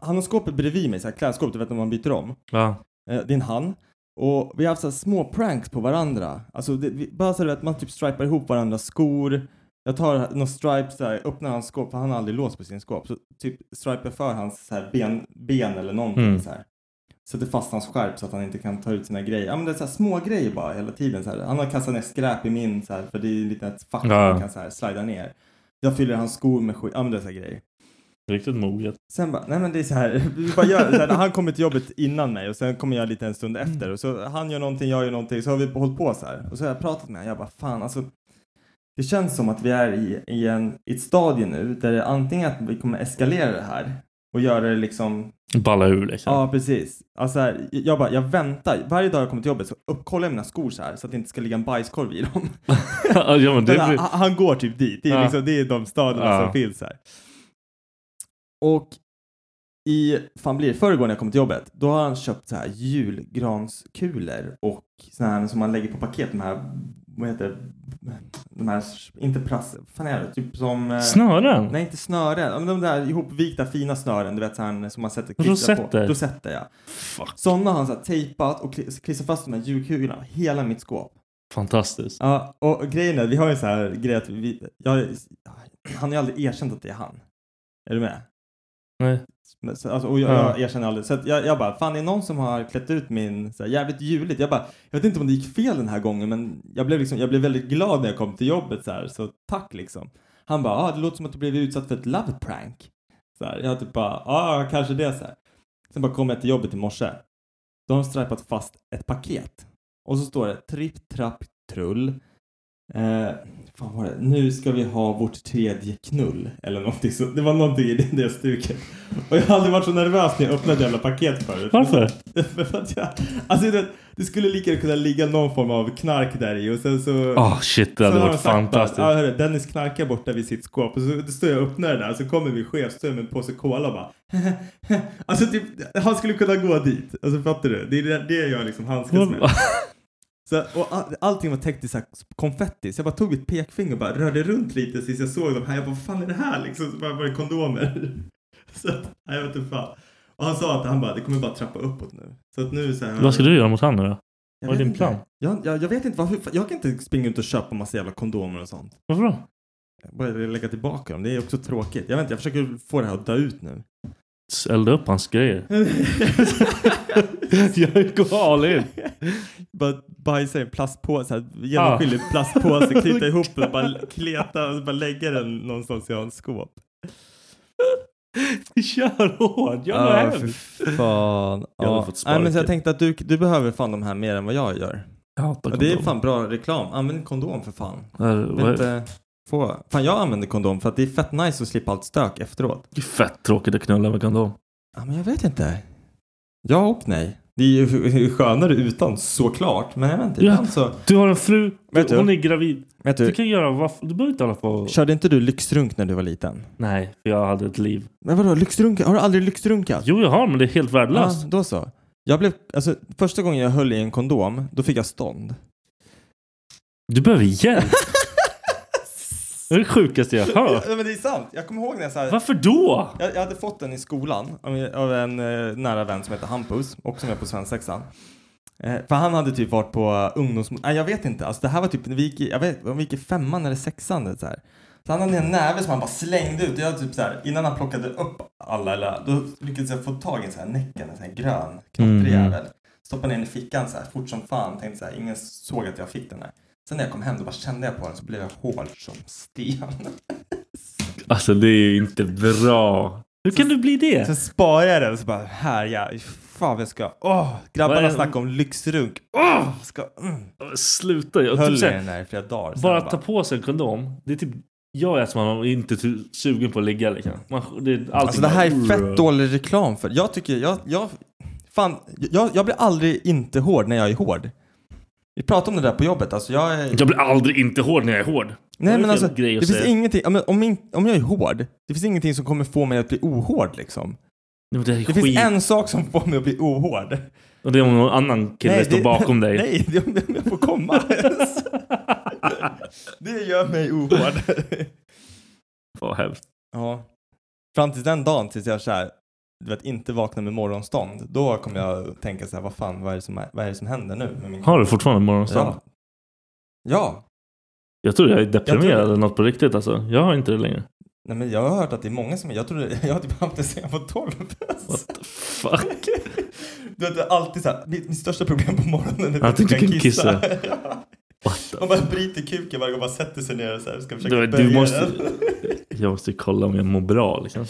Speaker 3: han har skåpet bredvid mig, så här klädskåp, du vet när man byter om.
Speaker 2: Ja.
Speaker 3: Eh, det är en han. Och vi har haft så här små pranks på varandra. Alltså det, vi, bara så du vet, man typ stripar ihop varandras skor. Jag tar någon stripe så här, öppnar hans skåp, för han har aldrig lås på sin skåp. Så typ stripar för hans så här, ben, ben eller någonting
Speaker 2: Mm.
Speaker 3: så här. Sätter fast hans skärp så att han inte kan ta ut sina grejer. Ja men det är så här små grejer bara hela tiden så här. Han har kastat ner skräp i min så här, för det är lite ett fack
Speaker 2: Ja.
Speaker 3: man kan så här slida ner. Jag fyller hans skor med skit, ja men det är så här grejer.
Speaker 2: Riktigt moget.
Speaker 3: Sen bara, nej men det är så här, (laughs) vi bara gör det så här, han kommer till jobbet innan mig och sen kommer jag lite en stund efter och så han gör någonting, jag gör någonting, så har vi hållit på så här och så har jag pratat med honom, jag bara fan alltså det känns som att vi är i, i, en, i ett stadie nu där det antingen att vi kommer eskalera det här och göra det liksom
Speaker 2: Balla ur liksom.
Speaker 3: Ja, precis. Alltså här, jag bara, jag väntar. Varje dag jag kommer till jobbet så uppkollar jag mina skor så här så att det inte ska ligga en bajskorv i dem.
Speaker 2: (laughs) ja, men det
Speaker 3: Men han,
Speaker 2: blir...
Speaker 3: han går typ dit. Det är,
Speaker 2: Ja.
Speaker 3: liksom, det är de stadierna
Speaker 2: Ja.
Speaker 3: som finns här. Och i, fan blir det förrgår när jag kom till jobbet, då har han köpt så här julgranskulor och såna här som man lägger på paket, de här, vad heter det? de här, inte prass, vad fan är det? Typ som... eh,
Speaker 2: Snören?
Speaker 3: Nej, inte snören. Ja, men De där ihopvikta fina snören, du vet så här, som man sätter på.
Speaker 2: Rosetter.
Speaker 3: Rosetter. ja.
Speaker 2: Alltså, Fuck.
Speaker 3: Sådana har han så här, tejpat och kli- klistrat fast de här julkulorna på hela mitt skåp.
Speaker 2: Fantastiskt.
Speaker 3: Ja, och och grejen är, vi har ju så här grej att vi, jag, han har ju aldrig erkänt att det är han. Är du med?
Speaker 2: Nej.
Speaker 3: Men så- Alltså, och jag,
Speaker 2: Ja.
Speaker 3: jag erkänner aldrig. Så att jag, jag bara, fan är det någon som har klätt ut min så här, jävligt juligt? Jag bara, jag vet inte om det gick fel den här gången men jag blev, liksom, jag blev väldigt glad när jag kom till jobbet så här, så tack liksom. Han bara, ah, det låter som att du blev utsatt för ett love prank. Så här, jag typ bara, ja ah, kanske det så här. Sen bara kom jag till jobbet i morse. Då har de strajpat fast ett paket. Och så står det tripp, trapp, trull. Eh, fan var det? Nu ska vi ha vårt tredje knull. Eller någonting så. Det var någonting i det, det stuket. Och jag har aldrig varit så nervös när jag öppnade ett jävla paket förut.
Speaker 2: Varför?
Speaker 3: (laughs) För att jag, alltså det, det skulle lika gärna kunna ligga någon form av knark där i och sen så...
Speaker 2: Ah shit, det
Speaker 3: sen
Speaker 2: hade
Speaker 3: har de
Speaker 2: varit
Speaker 3: sagt bara,
Speaker 2: fantastiskt.
Speaker 3: Ja hörru, Dennis knarkar borta vid sitt skåp. Och så då står jag och öppnar det där och så kommer min chef, står jag med en påse cola och bara (laughs) Alltså typ, han skulle kunna gå dit. Alltså fattar du? Det är det, det jag liksom handskas med. Så, och all, allting var täckt i så här konfetti, så jag bara tog mitt pekfinger och bara rörde runt lite tills jag såg de här. Jag bara, vad fan är det här liksom? Så bara var det kondomer. (laughs) Så att, nej, jag vet inte fan. Och han sa att han bara, det kommer bara trappa uppåt nu. Så att nu så här,
Speaker 2: Vad ska du göra mot han nu då? vad
Speaker 3: Jag
Speaker 2: är
Speaker 3: vet
Speaker 2: din
Speaker 3: inte.
Speaker 2: plan?
Speaker 3: Jag, jag, jag vet inte, varför, jag kan inte springa ut och köpa massa jävla kondomer och sånt.
Speaker 2: Varför då?
Speaker 3: Jag bara lägga tillbaka dem, det är också tråkigt. Jag vet inte, jag försöker få det här att dö ut nu.
Speaker 2: S- Elda upp hans grejer. (laughs) Jag går all in.
Speaker 3: bara bajsa i en plastpåse, här, genomskinlig
Speaker 2: (laughs)
Speaker 3: plastpåse, knyta ihop den, bara kleta och bara lägga den någonstans i hans skåp.
Speaker 2: (laughs) Kör hårt, jag
Speaker 3: Ja,
Speaker 2: går
Speaker 3: för
Speaker 2: hem.
Speaker 3: fan.
Speaker 2: Jag hade
Speaker 3: Ja.
Speaker 2: fått
Speaker 3: Nej, men så jag
Speaker 2: sparken.
Speaker 3: tänkte att du, du behöver fan de här mer än vad jag gör.
Speaker 2: Jag hatar
Speaker 3: Och det är
Speaker 2: kondom.
Speaker 3: fan bra reklam. Använd kondom för fan.
Speaker 2: Här,
Speaker 3: Jag vill
Speaker 2: vad är-
Speaker 3: Inte få. Fan jag använder kondom för att det är fett nice att slippa allt stök efteråt.
Speaker 2: Det är fett tråkigt att knulla med kondom.
Speaker 3: Ja men jag vet inte. Ja och nej. Det är ju skönare utan såklart. Men jag vet inte.
Speaker 2: Ja.
Speaker 3: Ibland så.
Speaker 2: Du har en fru,
Speaker 3: Vet du?
Speaker 2: hon är gravid.
Speaker 3: Vet
Speaker 2: Du
Speaker 3: du.
Speaker 2: kan göra vad Du behöver inte hålla på
Speaker 3: Körde inte du lyxrunk när du var liten?
Speaker 2: Nej, för jag hade ett liv.
Speaker 3: Men vadå lyxrunka? Har du aldrig lyxrunkat?
Speaker 2: Jo, jag har, men det är helt värdelöst.
Speaker 3: Ja, då så. Jag blev, alltså, första gången jag höll i en kondom, då fick jag stånd.
Speaker 2: Du behöver
Speaker 3: (laughs)
Speaker 2: hjälp. det är det sjukaste jag har hört.
Speaker 3: Ja, men det är sant. Jag kommer ihåg när jag så här,
Speaker 2: Varför då?
Speaker 3: jag, jag hade fått den i skolan av en- av en eh, nära vän som heter Hampus, också med på svensexan. Eh, för han hade typ varit på eh, ungdoms... Nej, jag vet inte. Alltså det här var typ, när vi gick i, jag vet om vi gick i femman eller sexan. Det, så, här. så han hade en näve som han bara slängde ut. Jag typ så här, innan han plockade upp alla, eller, då lyckades jag få tag i en sån här Näcken, en sån här grön, knottrig
Speaker 2: Mm.
Speaker 3: jävel. Stoppade ner den i fickan så här fort som fan. Tänkte så här, ingen såg att jag fick den här. Sen när jag kom hem då bara kände jag på den så blev jag hård som sten.
Speaker 2: Alltså det är ju inte bra. Hur kan du bli
Speaker 3: Sen
Speaker 2: det?
Speaker 3: sparar jag den och så bara här ja, fan vad jag ska. Åh,
Speaker 2: Vad
Speaker 3: grabbarna
Speaker 2: är-
Speaker 3: snackar om lyxrunk. Åh, ska, mm.
Speaker 2: Sluta. Jag,
Speaker 3: Höll
Speaker 2: typ,
Speaker 3: i
Speaker 2: såhär,
Speaker 3: den här i flera dagar. Sen
Speaker 2: bara
Speaker 3: jag
Speaker 2: ta på sig en kondom. Det är typ jag är som man inte är tu- sugen på att ligga liksom. Man, det, är allting
Speaker 3: Alltså det här är
Speaker 2: bara-
Speaker 3: fett dålig reklam för. Jag tycker, jag, jag, fan, jag, jag blir aldrig inte hård när jag är hård. Vi pratade om det där på jobbet, alltså jag är...
Speaker 2: Jag blir aldrig inte hård när jag är hård.
Speaker 3: Nej
Speaker 2: är
Speaker 3: men
Speaker 2: fel
Speaker 3: alltså,
Speaker 2: grej
Speaker 3: det
Speaker 2: att
Speaker 3: finns
Speaker 2: säga.
Speaker 3: ingenting, ja, men om, min, om jag är hård, det finns ingenting som kommer få mig att bli ohård liksom.
Speaker 2: Nej, men det är
Speaker 3: Det
Speaker 2: skit.
Speaker 3: finns en sak som får mig att bli ohård.
Speaker 2: Och det är om någon annan kille står
Speaker 3: det-
Speaker 2: bakom dig.
Speaker 3: Nej, det är om jag får komma.
Speaker 2: (laughs)
Speaker 3: det gör mig ohård.
Speaker 2: Vad hemskt.
Speaker 3: ja. Fram till den dagen tills jag så här, du vet, inte vaknar med morgonstånd. Då kommer jag tänka så här, vad fan, vad är det som, är, vad är det som händer nu? Med min...
Speaker 2: Har du fortfarande morgonstånd?
Speaker 3: Ja. ja.
Speaker 2: Jag tror jag är deprimerad
Speaker 3: Jag tror-
Speaker 2: eller något på riktigt alltså. Jag har inte det längre.
Speaker 3: Nej, men jag har hört att det är många som, jag tror jag har typ haft det sen jag var 12
Speaker 2: What the fuck?
Speaker 3: (laughs) Du vet, det är alltid så här, mitt, mitt största problem på morgonen är
Speaker 2: Att
Speaker 3: att
Speaker 2: du
Speaker 3: jag
Speaker 2: inte
Speaker 3: inte
Speaker 2: kan
Speaker 3: kan kissa. (laughs)
Speaker 2: What the
Speaker 3: Man bara bryter kuken varje gång man sätter sig ner och så här, ska försöka
Speaker 2: Du, (laughs)
Speaker 3: böja
Speaker 2: du måste,
Speaker 3: den.
Speaker 2: jag måste kolla om jag mår bra liksom.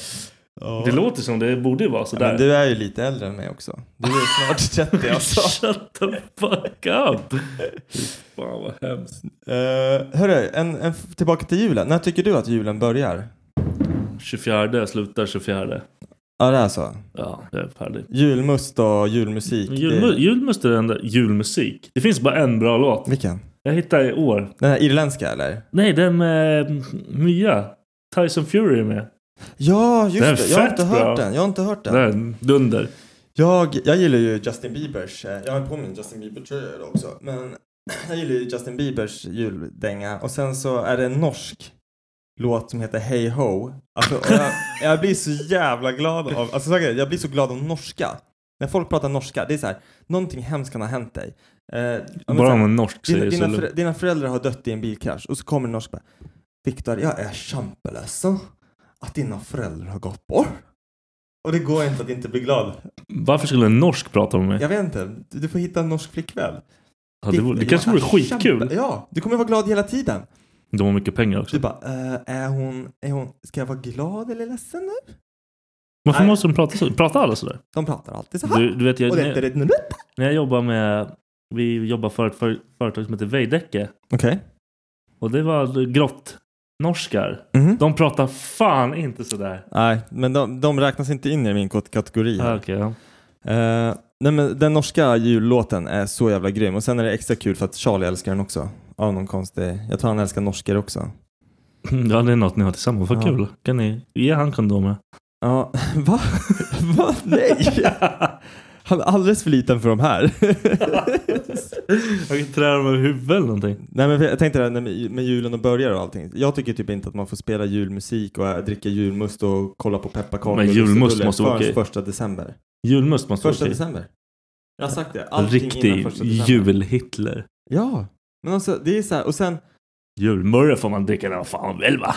Speaker 3: Ja.
Speaker 2: Det låter som det borde ju vara
Speaker 3: Ja,
Speaker 2: sådär.
Speaker 3: men du är ju lite äldre än mig också. Du är snart 30 alltså.
Speaker 2: (laughs) Shut the fuck up! Fy Fan vad hemskt.
Speaker 3: Uh, hörru, en, en, tillbaka till julen. När tycker du att julen börjar?
Speaker 2: 24 slutar 24.
Speaker 3: Ja, det är så.
Speaker 2: Ja, jag är färdig.
Speaker 3: Julmust och julmusik. det-
Speaker 2: Julmu- julmust är den där julmusik. Det finns bara en bra låt.
Speaker 3: Vilken?
Speaker 2: Jag hittade i år.
Speaker 3: Den här irländska eller?
Speaker 2: Nej, den med eh, Mia. Tyson Fury är med.
Speaker 3: Ja, just
Speaker 2: Den är
Speaker 3: det. Jag har
Speaker 2: fett
Speaker 3: inte hört
Speaker 2: bra.
Speaker 3: den. Jag har inte hört den.
Speaker 2: Den, dunder.
Speaker 3: Jag, jag gillar ju Justin Biebers, eh, jag har på mig en Justin Bieber-tröja idag också, men (clears throat) jag gillar ju Justin Biebers juldänga och sen så är det en norsk låt som heter Hey Ho. Alltså, och
Speaker 2: (laughs)
Speaker 3: jag, jag blir så jävla glad av, alltså så här, jag blir så glad av norska. När folk pratar norska, det är så här, någonting hemskt kan ha hänt dig. Eh, ja, men så
Speaker 2: Bara
Speaker 3: här,
Speaker 2: om en norsk
Speaker 3: dina,
Speaker 2: säger så.
Speaker 3: dina,
Speaker 2: lugnt.
Speaker 3: för, dina föräldrar har dött i en bilkrasch och så kommer en norsk bara, Viktor, jag är kämpeledsen att dina föräldrar har gått bort. Och det går inte att inte bli glad.
Speaker 2: Varför skulle en norsk prata med mig?
Speaker 3: Jag vet inte, du, du får hitta en norsk flickvän.
Speaker 2: Ja, det, vore- det kanske vore skitkul.
Speaker 3: Ja, du kommer vara glad hela tiden.
Speaker 2: De har mycket pengar också.
Speaker 3: Du bara, eh, är, hon, är hon, ska jag vara glad eller ledsen nu?
Speaker 2: Varför
Speaker 3: Nej.
Speaker 2: måste de prata så? Pratar alla sådär?
Speaker 3: De pratar alltid så här.
Speaker 2: Du, du vet, jag,
Speaker 3: och det är inte
Speaker 2: när,
Speaker 3: rätt nu. Okej.
Speaker 2: när jag jobbar med... Vi jobbar för ett för, företag som heter Veidekke. Och det var grottnorskar.
Speaker 3: Mhm.
Speaker 2: De pratar fan inte sådär.
Speaker 3: Nej, men de, de räknas inte in i min kot- kategori. här.
Speaker 2: Ah, okej, ja.
Speaker 3: Eh, nej, men den norska jullåten är så jävla grym. Och sen är det extra kul för att Charlie älskar den också. Av någon konstig... Jag tror han älskar norskor också.
Speaker 2: Mm, ja, det är något ni har tillsammans. Vad
Speaker 3: Ja.
Speaker 2: kul. Kan ni ge han kondomer?
Speaker 3: Ja, (laughs) va? va?
Speaker 2: (laughs)
Speaker 3: Nej! Han är alldeles för liten för de här.
Speaker 2: (laughs) Jag kan trä dem över huvudet eller någonting.
Speaker 3: Nej men jag tänkte det här med- med julen och börjar och allting. Jag tycker typ inte att man får spela julmusik och äh, dricka julmust och kolla på pepparkakor
Speaker 2: Men
Speaker 3: och
Speaker 2: julmust
Speaker 3: lussebullar
Speaker 2: måste vara
Speaker 3: förrän
Speaker 2: okej.
Speaker 3: första december.
Speaker 2: Julmust måste
Speaker 3: Första
Speaker 2: vara okej.
Speaker 3: december. Jag har sagt det. Allting innan
Speaker 2: Riktig
Speaker 3: första december.
Speaker 2: jul-Hitler.
Speaker 3: Ja. Men alltså det är så här och sen.
Speaker 2: Julmurra får man dricka när man fan vill va?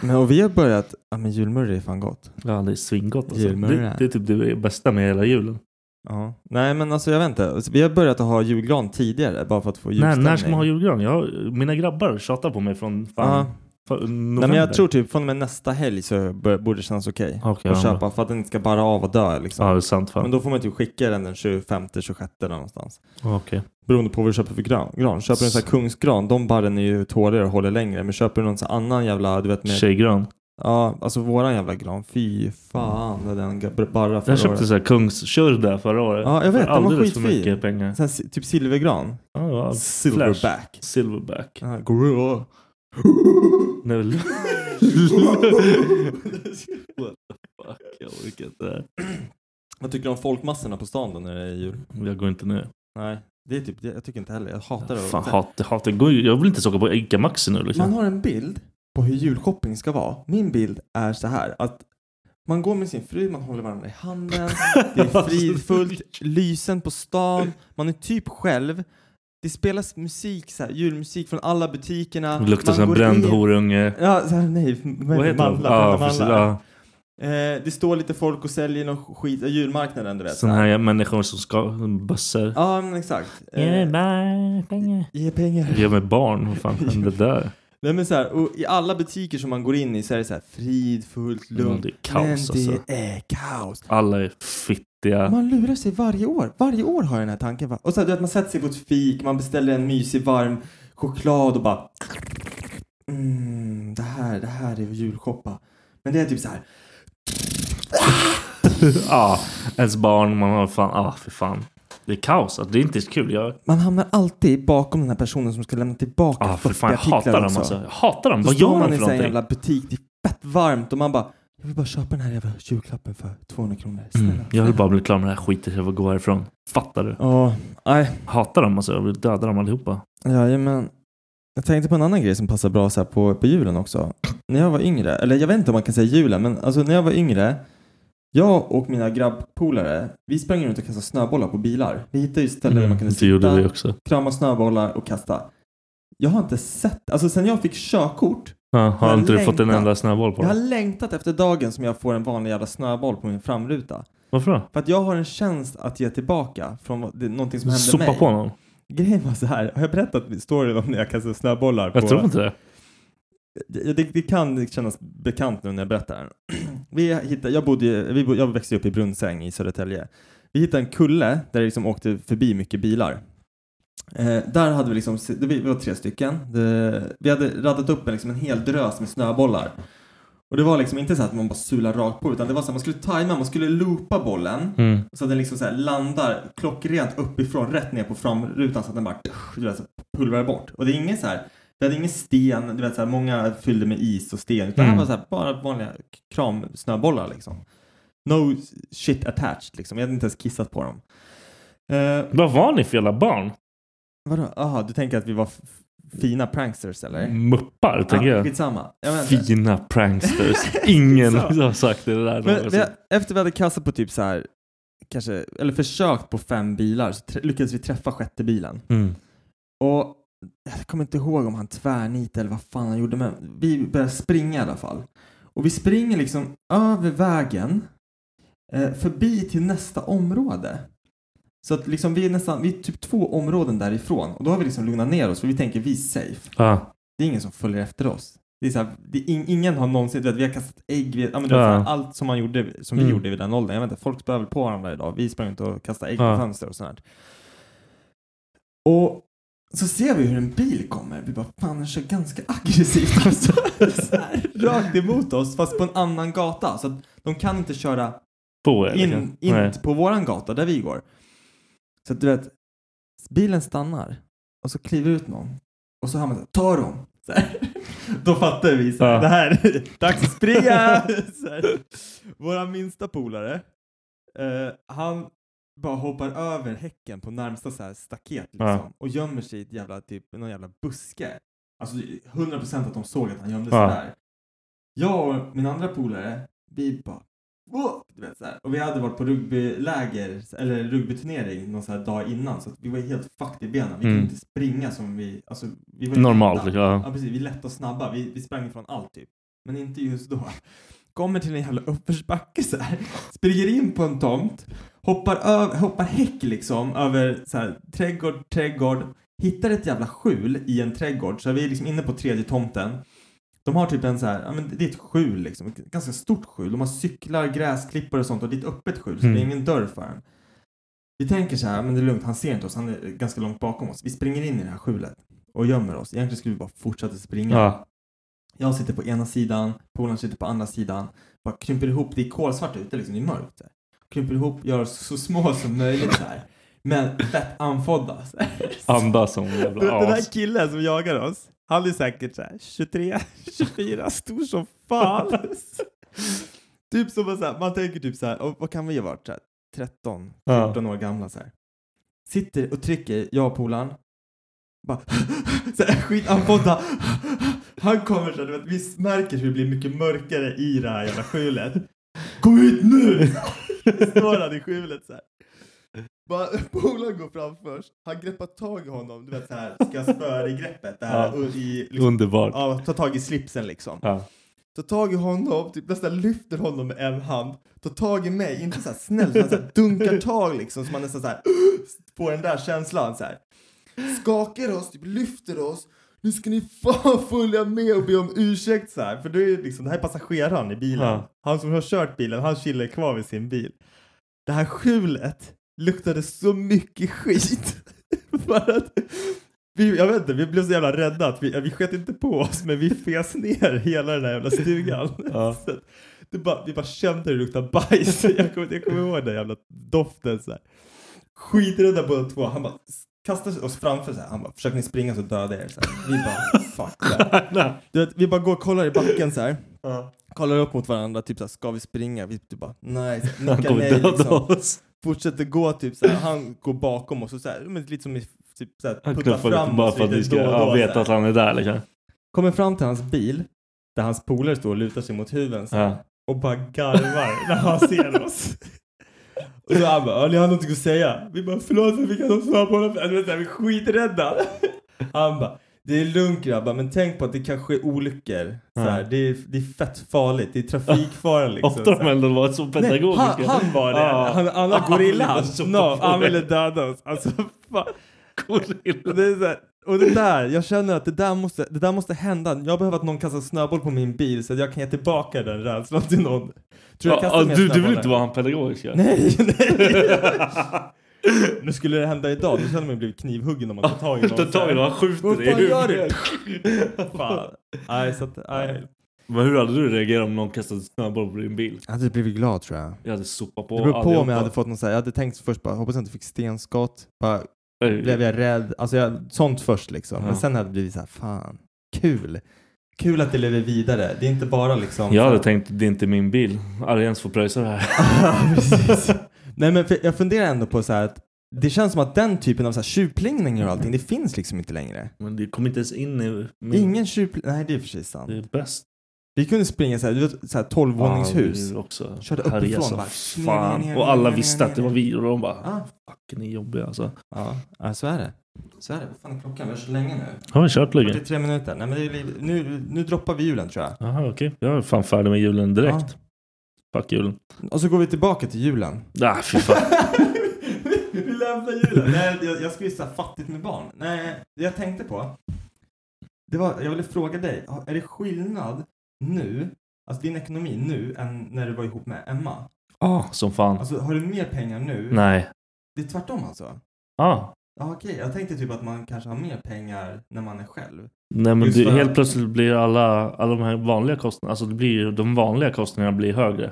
Speaker 3: Men och vi har börjat. Ja men julmurra är fan gott.
Speaker 2: Ja, det är svingott alltså.
Speaker 3: Julmurra.
Speaker 2: Det, det är typ det bästa med hela julen.
Speaker 3: Ja. Nej men alltså jag vet inte. Alltså, Vi har börjat att ha julgran tidigare bara för att få
Speaker 2: När,
Speaker 3: julstämning.
Speaker 2: när ska man ha julgran? Jag, mina grabbar tjatar på mig från fan,
Speaker 3: Ja.
Speaker 2: för, november.
Speaker 3: Nej men jag tror typ från och med nästa helg så bör- borde det kännas okej.
Speaker 2: Okej,
Speaker 3: att
Speaker 2: ja,
Speaker 3: köpa
Speaker 2: bra.
Speaker 3: för att den inte ska bara av och dö liksom.
Speaker 2: Ja, det är sant
Speaker 3: Men
Speaker 2: fan.
Speaker 3: då får man typ skicka den den 25-26 eller någonstans.
Speaker 2: Okej.
Speaker 3: Beroende på vad du köper för gran. gran. Köper du en sån här kungsgran, de barren är ju tåligare och håller längre. Men köper du någon sån här annan jävla, du vet med...
Speaker 2: Tjejgran.
Speaker 3: Ja, alltså våran jävla gran. Fy fan vad den ga- barra förra
Speaker 2: Jag köpte
Speaker 3: året.
Speaker 2: så här kungskörda förra året.
Speaker 3: Ja, jag vet.
Speaker 2: För
Speaker 3: Den var
Speaker 2: alldeles för
Speaker 3: skitfin.
Speaker 2: mycket pengar.
Speaker 3: Sån här, si- typ silvergran.
Speaker 2: Ja, det var Flash.
Speaker 3: Silverback.
Speaker 2: Silverback.
Speaker 3: Ja, grå.
Speaker 2: Nej, väl- (laughs) What the fuck, jag orkar inte.
Speaker 3: Vad tycker du om folkmassorna på stan då när det är jul?
Speaker 2: Jag går inte ner.
Speaker 3: Nej, det är typ det. Jag tycker inte heller. Jag hatar det.
Speaker 2: Fan, hat, hat, jag, går, ju- jag vill inte ens åka på Ica Maxi nu liksom.
Speaker 3: Man har en bild på hur julshopping ska vara. Min bild är så här att man går med sin fru, man håller varandra
Speaker 2: (laughs)
Speaker 3: i handen, det är fridfullt, lysen på stan, man är typ själv. Det spelas musik, så här, julmusik från alla butikerna.
Speaker 2: Det luktar
Speaker 3: Man
Speaker 2: som en
Speaker 3: går
Speaker 2: bränd
Speaker 3: in-
Speaker 2: horunge.
Speaker 3: Ja, så här, nej, vad heter
Speaker 2: de?
Speaker 3: mandlar,
Speaker 2: Ja,
Speaker 3: brända
Speaker 2: precis,
Speaker 3: mandlar.
Speaker 2: ja.
Speaker 3: Eh, det står lite folk och säljer någon skit, eh, julmarknaden du vet.
Speaker 2: Sådana här människor som ska bössor.
Speaker 3: Ja, men exakt. Eh,
Speaker 2: Ge mig pengar.
Speaker 3: Ge pengar.
Speaker 2: Ge mig barn. Vad fan hände där?
Speaker 3: Nej men så här, och i alla butiker som man går in i så är det så här fridfullt, lugnt.
Speaker 2: Ja, det är kaos,
Speaker 3: men det
Speaker 2: alltså.
Speaker 3: är kaos.
Speaker 2: Alla är fittiga.
Speaker 3: Man lurar sig varje år. Varje år har jag den här tanken. Va? Och så här, du vet, man sätter sig på ett fik, man beställer en mysig varm choklad och bara... Mm, det här, det här är julshoppa. Men det är typ så här.
Speaker 2: Ja, Ah, ens barn. Man har fan, ah för fan. Det är kaos. alltså. Det är inte så kul. Jag,
Speaker 3: Man hamnar alltid bakom den här personen som ska lämna tillbaka
Speaker 2: ah, för fan, jag
Speaker 3: artiklar
Speaker 2: hatar dem
Speaker 3: också.
Speaker 2: alltså. Jag hatar dem.
Speaker 3: Så
Speaker 2: Vad
Speaker 3: står
Speaker 2: gör man för
Speaker 3: i en sån här
Speaker 2: någonting?
Speaker 3: jävla butik, det är fett varmt och man bara... Jag vill bara köpa den här jävla julklappen för 200 kronor. Snälla.
Speaker 2: Mm. Jag vill bara bli klar med det här skiten så jag får gå härifrån. Fattar du?
Speaker 3: Ja, nej.
Speaker 2: Hatar dem alltså. Jag vill döda dem allihopa.
Speaker 3: Jajamän. Jag tänkte på en annan grej som passar bra så här på, på julen också. När jag var yngre, eller jag vet inte om man kan säga julen, men alltså när jag var yngre. Jag och mina grabbpolare, vi sprang runt och kastade snöbollar på bilar. Vi hittade ju ställen där man kunde
Speaker 2: Mm, det gjorde vi
Speaker 3: sitta,
Speaker 2: också.
Speaker 3: krama snöbollar och kasta. Jag har inte sett, alltså sen jag fick körkort,
Speaker 2: Ja, har
Speaker 3: Jag
Speaker 2: inte du fått en
Speaker 3: längtar.
Speaker 2: enda snöboll på
Speaker 3: jag har
Speaker 2: dig?
Speaker 3: längtat efter dagen som jag får en vanlig jävla snöboll på min framruta.
Speaker 2: Varför då?
Speaker 3: För att jag har en tjänst att ge tillbaka från vad- det, någonting som hände
Speaker 2: Sopa
Speaker 3: mig.
Speaker 2: på någon?
Speaker 3: Grejen var så här, har jag berättat storyn om när jag kastade snöbollar?
Speaker 2: Jag
Speaker 3: på...
Speaker 2: tror inte det.
Speaker 3: Det, det, det kan kännas bekant nu när jag berättar (clears throat) den. Vi hittade, jag, bodde, ju- vi bo, jag växte upp i Brunnsäng i Södertälje. Vi hittade en kulle där det liksom åkte förbi mycket bilar. Eh, där hade vi liksom, det, vi var tre stycken. Det, vi hade raddat upp en, liksom en hel drös med snöbollar. Och det var liksom inte så att man bara sular rakt på utan det var så att man skulle tajma, man skulle loopa bollen
Speaker 2: Mm.
Speaker 3: så att den liksom så här landar klockrent uppifrån rätt ner på framrutan så att den bara du vet, så pulverar bort. Och det är ingen så här, vi hade ingen sten, du vet så här, många fyllde med is och sten utan
Speaker 2: Mm.
Speaker 3: det var så här, bara vanliga kramsnöbollar liksom. No shit attached liksom, jag hade inte ens kissat på dem. Eh,
Speaker 2: Vad var ni för jävla barn?
Speaker 3: vadå, aha, du tänker att vi var f- f- fina pranksters eller?
Speaker 2: Muppar, Mm, tänker
Speaker 3: ja,
Speaker 2: jag.
Speaker 3: skitsamma. Jag vet inte.
Speaker 2: Fina pranksters.
Speaker 3: (laughs)
Speaker 2: Ingen
Speaker 3: Så.
Speaker 2: har sagt det där
Speaker 3: Men vi,
Speaker 2: någonsin.
Speaker 3: efter vi hade kastat på typ så här, kanske, eller försökt på fem bilar så trä- lyckades vi träffa sjätte bilen.
Speaker 2: Mm.
Speaker 3: Och jag kommer inte ihåg om han tvärnitade eller vad fan han gjorde men vi började springa i alla fall. Och vi springer liksom över vägen eh, förbi till nästa område. Så att liksom vi är nästan, vi är typ två områden därifrån och då har vi liksom lugnat ner oss för vi tänker vi är safe.
Speaker 2: Ja.
Speaker 3: Det är ingen som följer efter oss. Det är så här, det är in, ingen har någonsin, du vet, vi har kastat ägg, vi, ja, men du vet,
Speaker 2: Ja.
Speaker 3: så här, allt som man gjorde, som vi
Speaker 2: Mm.
Speaker 3: gjorde vid den åldern. Jag vet inte, folk spöar väl på varandra idag. Vi sprang inte och kastade ägg
Speaker 2: Ja.
Speaker 3: på fönster och sånt där. Och så ser vi hur en bil kommer. Vi bara, fan den kör ganska aggressivt alltså. (laughs) så här, rakt emot oss, fast på en annan gata. Så att de kan inte köra
Speaker 2: På er.
Speaker 3: in,
Speaker 2: liksom.
Speaker 3: in
Speaker 2: Nej.
Speaker 3: på våran gata där vi går. Så att du vet, bilen stannar och så kliver ut någon och så hör man så här, ta dem. Så här. (laughs) Då fattar vi så här,
Speaker 2: Ja.
Speaker 3: det här, (laughs) dags att springa. (laughs) Så här. Våra minsta polare, eh, han bara hoppar över häcken på närmsta så här staket liksom
Speaker 2: Ja.
Speaker 3: och gömmer sig i ett jävla, typ, någon jävla buske. Alltså 100% att de såg att han gömde sig
Speaker 2: Ja.
Speaker 3: där. Jag och min andra polare, vi bara Wow! Du vet, så här. Och vi hade varit på rugbyläger, eller rugbyturnering någon så här dag innan så att vi var helt fucked i benen. Vi
Speaker 2: Mm.
Speaker 3: kunde inte springa som vi, alltså, vi var ju
Speaker 2: Normalt.
Speaker 3: lätta.
Speaker 2: Liksom. Ja.
Speaker 3: Ja precis, vi är lätta och snabba. Vi, vi sprang ifrån allt typ. Men inte just då. Kommer till en jävla uppförsbacke så här. Springer in på en tomt. Hoppar, över, hoppar häck liksom över så här, trädgård, trädgård. Hittar ett jävla skjul i en trädgård. Så vi är liksom inne på tredje tomten. De har typ en så här, ja men det är ett skjul liksom. Ett ganska stort skjul. De har cyklar, gräsklippor och sånt och det är ett öppet skjul så
Speaker 2: Mm.
Speaker 3: det är ingen dörr för den. Vi tänker så här, men det är lugnt, han ser inte oss, han är ganska långt bakom oss. Vi springer in i det här skjulet och gömmer oss. Egentligen skulle vi bara fortsätta springa.
Speaker 2: Ja.
Speaker 3: Jag sitter på ena sidan, polaren sitter på andra sidan. Bara krymper ihop, det är kolsvart ute liksom, det är mörkt. så här. Krymper ihop, gör oss så små som möjligt så här. Men fett anfodda. så här.
Speaker 2: Andas som
Speaker 3: Den, den
Speaker 2: jävla
Speaker 3: här
Speaker 2: as.
Speaker 3: killen som jagar oss, han är säkert såhär (laughs) 23, 24, stor som
Speaker 2: (laughs)
Speaker 3: fan. typ som man, så här, man tänker typ såhär, och vad kan vi ha varit? Så här, 13,
Speaker 2: Ja.
Speaker 3: 14 år gamla så här. Sitter och trycker, jag och polaren. Bara (laughs) så här, skitanfodda. (laughs) Han kommer så här, du vet, vi märker hur det blir mycket mörkare i det här jävla skjulet. Kom ut nu! (laughs) Står han i skjulet så här. Bara, (laughs) Polaren går fram först, han greppar tag i honom, du vet så här, ska spöa i greppet. Det här,
Speaker 2: Ja.
Speaker 3: och i, liksom,
Speaker 2: Underbart.
Speaker 3: ja, ta tag i slipsen liksom.
Speaker 2: Ja.
Speaker 3: Tar tag i honom, typ nästan lyfter honom med en hand. Tar tag i mig, inte så här snällt, utan så här dunkar tag liksom så man nästan så här (gasps) får den där känslan så här. Skakar oss, typ lyfter oss. Nu ska ni fan följa med och be om ursäkt så här. För det är ju liksom, det här är passageraren i bilen.
Speaker 2: Ja.
Speaker 3: Han som har kört bilen, han chillar kvar vid sin bil. Det här skjulet luktade så mycket skit. (laughs) för att vi, jag vet inte, vi blev så jävla rädda att vi, vi sket inte på oss men vi fes ner hela den här jävla stugan.
Speaker 2: (laughs) Ja.
Speaker 3: (laughs) Så att det bara, vi bara kände hur det luktade bajs. (laughs) Jag kommer, jag kommer ihåg den jävla doften så här. Skiträdda båda två. Han bara kastar oss framför så här. Han bara, försöker ni springa så dödar jag er. Så här. Vi bara, fuck det här. Du vet, vi bara går och kollar i backen så här. Kollar upp mot varandra, typ så här, ska vi springa? Vi typ bara, nej. så här,
Speaker 2: Han
Speaker 3: nickar
Speaker 2: kommer
Speaker 3: nej,
Speaker 2: döda
Speaker 3: liksom
Speaker 2: oss.
Speaker 3: fortsätter gå
Speaker 2: (laughs)
Speaker 3: typ såhär, han går bakom oss och såhär, men lite som i typ såhär,
Speaker 2: Han
Speaker 3: puttar
Speaker 2: knuffar lite
Speaker 3: fram
Speaker 2: bara
Speaker 3: oss
Speaker 2: för att vi ska
Speaker 3: då och då,
Speaker 2: ja, veta
Speaker 3: såhär.
Speaker 2: att han är där. Liksom.
Speaker 3: Kommer fram till hans bil, där hans polare står och lutar sig mot huven såhär,
Speaker 2: Ja.
Speaker 3: och bara garvar (laughs) när han ser oss. Och så han bara, "Ja, ni har någonting att säga. Vi bara, förlåt vi kan inte svara på honom. Du vet, så här, vi är skiträdda. (laughs) Han bara, det är lugnt grabbar, men tänk på att det kan ske olyckor. Så här,
Speaker 2: Ja.
Speaker 3: det, är, det är fett farligt, det
Speaker 2: (laughs)
Speaker 3: är trafikfara liksom.
Speaker 2: Ofta
Speaker 3: så här.
Speaker 2: har de ändå varit så
Speaker 3: Nej,
Speaker 2: pedagogiska.
Speaker 3: han, han var det.
Speaker 2: Ja.
Speaker 3: Han, alla
Speaker 2: ville
Speaker 3: gorillan. No,
Speaker 2: stoppa
Speaker 3: han
Speaker 2: det.
Speaker 3: ville döda oss. Alltså, fan.
Speaker 2: Gorilla.
Speaker 3: Alltså, Det är så här, Och det där, jag känner att det där måste, det där måste hända. Jag behöver att någon kastar snöboll på min bil så att jag kan ge tillbaka den rädslan till någon. Tror du jag
Speaker 2: Ja,
Speaker 3: kastar
Speaker 2: ja,
Speaker 3: mer
Speaker 2: du, du vill
Speaker 3: snöbollar?
Speaker 2: inte vara han pedagogiska? (laughs)
Speaker 3: Nej, nej! nu skulle det hända idag, då känner man ju blivit knivhuggen om man tar tag i någon.
Speaker 2: (laughs) Ta tag i honom, han skjuter
Speaker 3: Vad
Speaker 2: dig i
Speaker 3: fan gör du?
Speaker 2: huvudet. (laughs)
Speaker 3: Fan. Nej, så att, nej.
Speaker 2: Men hur hade du reagerat om någon kastade en snöboll på din bil?
Speaker 3: Jag hade blivit glad tror jag.
Speaker 2: Jag hade sopat på
Speaker 3: Det beror på om
Speaker 2: allihopa.
Speaker 3: jag hade fått någon så här, jag hade tänkt först bara, hoppas jag inte fick stenskott. Bara,
Speaker 2: Nej.
Speaker 3: blev jag rädd. Alltså jag, sånt först liksom.
Speaker 2: Ja.
Speaker 3: Men sen hade det blivit så här, fan, kul. Kul att det lever vidare. Det är inte bara liksom...
Speaker 2: Jag hade tänkt det är inte min bil. Arjens får pröjsa det här. (laughs)
Speaker 3: (laughs) Precis. Nej men för jag funderar ändå på så här att det känns som att den typen av så här tjuvplingningar och allting, det finns liksom inte längre.
Speaker 2: Men det kom inte ens in i min...
Speaker 3: Ingen tjuvpling, nej det är för sig sant.
Speaker 2: Det är bäst.
Speaker 3: Vi kunde springa så här, du vet, så här
Speaker 2: Ja,
Speaker 3: tolvvåningshus.
Speaker 2: det är också.
Speaker 3: Körde uppifrån,
Speaker 2: Arjen sa,
Speaker 3: bara,
Speaker 2: Fan. Och alla visste att det var vi och de bara...
Speaker 3: Ja,
Speaker 2: Fuck, ni är jobbiga alltså.
Speaker 3: ja, ja, så är det. Så är det. Vad fan är klockan? Vi har så länge nu.
Speaker 2: Har vi kört
Speaker 3: Det
Speaker 2: Lugge?
Speaker 3: är tre minuter. Nej men det är, li- nu, nu droppar vi julen tror jag.
Speaker 2: Jaha okej. Jag är fan färdig med julen direkt. Fuck julen.
Speaker 3: Och så går vi tillbaka till julen.
Speaker 2: Ah, fy fan.
Speaker 3: (laughs) vi lämnar julen. Nej, jag, jag skulle gissa fattigt med barn. Nej, det jag tänkte på. Det var, jag ville fråga dig, har- är det skillnad nu, alltså din ekonomi nu, än när du var ihop med Emma?
Speaker 2: ah, som fan.
Speaker 3: Alltså har du mer pengar nu?
Speaker 2: Nej.
Speaker 3: Det är tvärtom alltså?
Speaker 2: Ah.
Speaker 3: Ja, okej. Jag tänkte typ att man kanske har mer pengar när man är själv.
Speaker 2: Nej men
Speaker 3: Just
Speaker 2: det,
Speaker 3: för
Speaker 2: helt
Speaker 3: att-
Speaker 2: plötsligt blir alla, alla de här vanliga kostnaderna, alltså det blir, ju- de vanliga kostnaderna blir högre.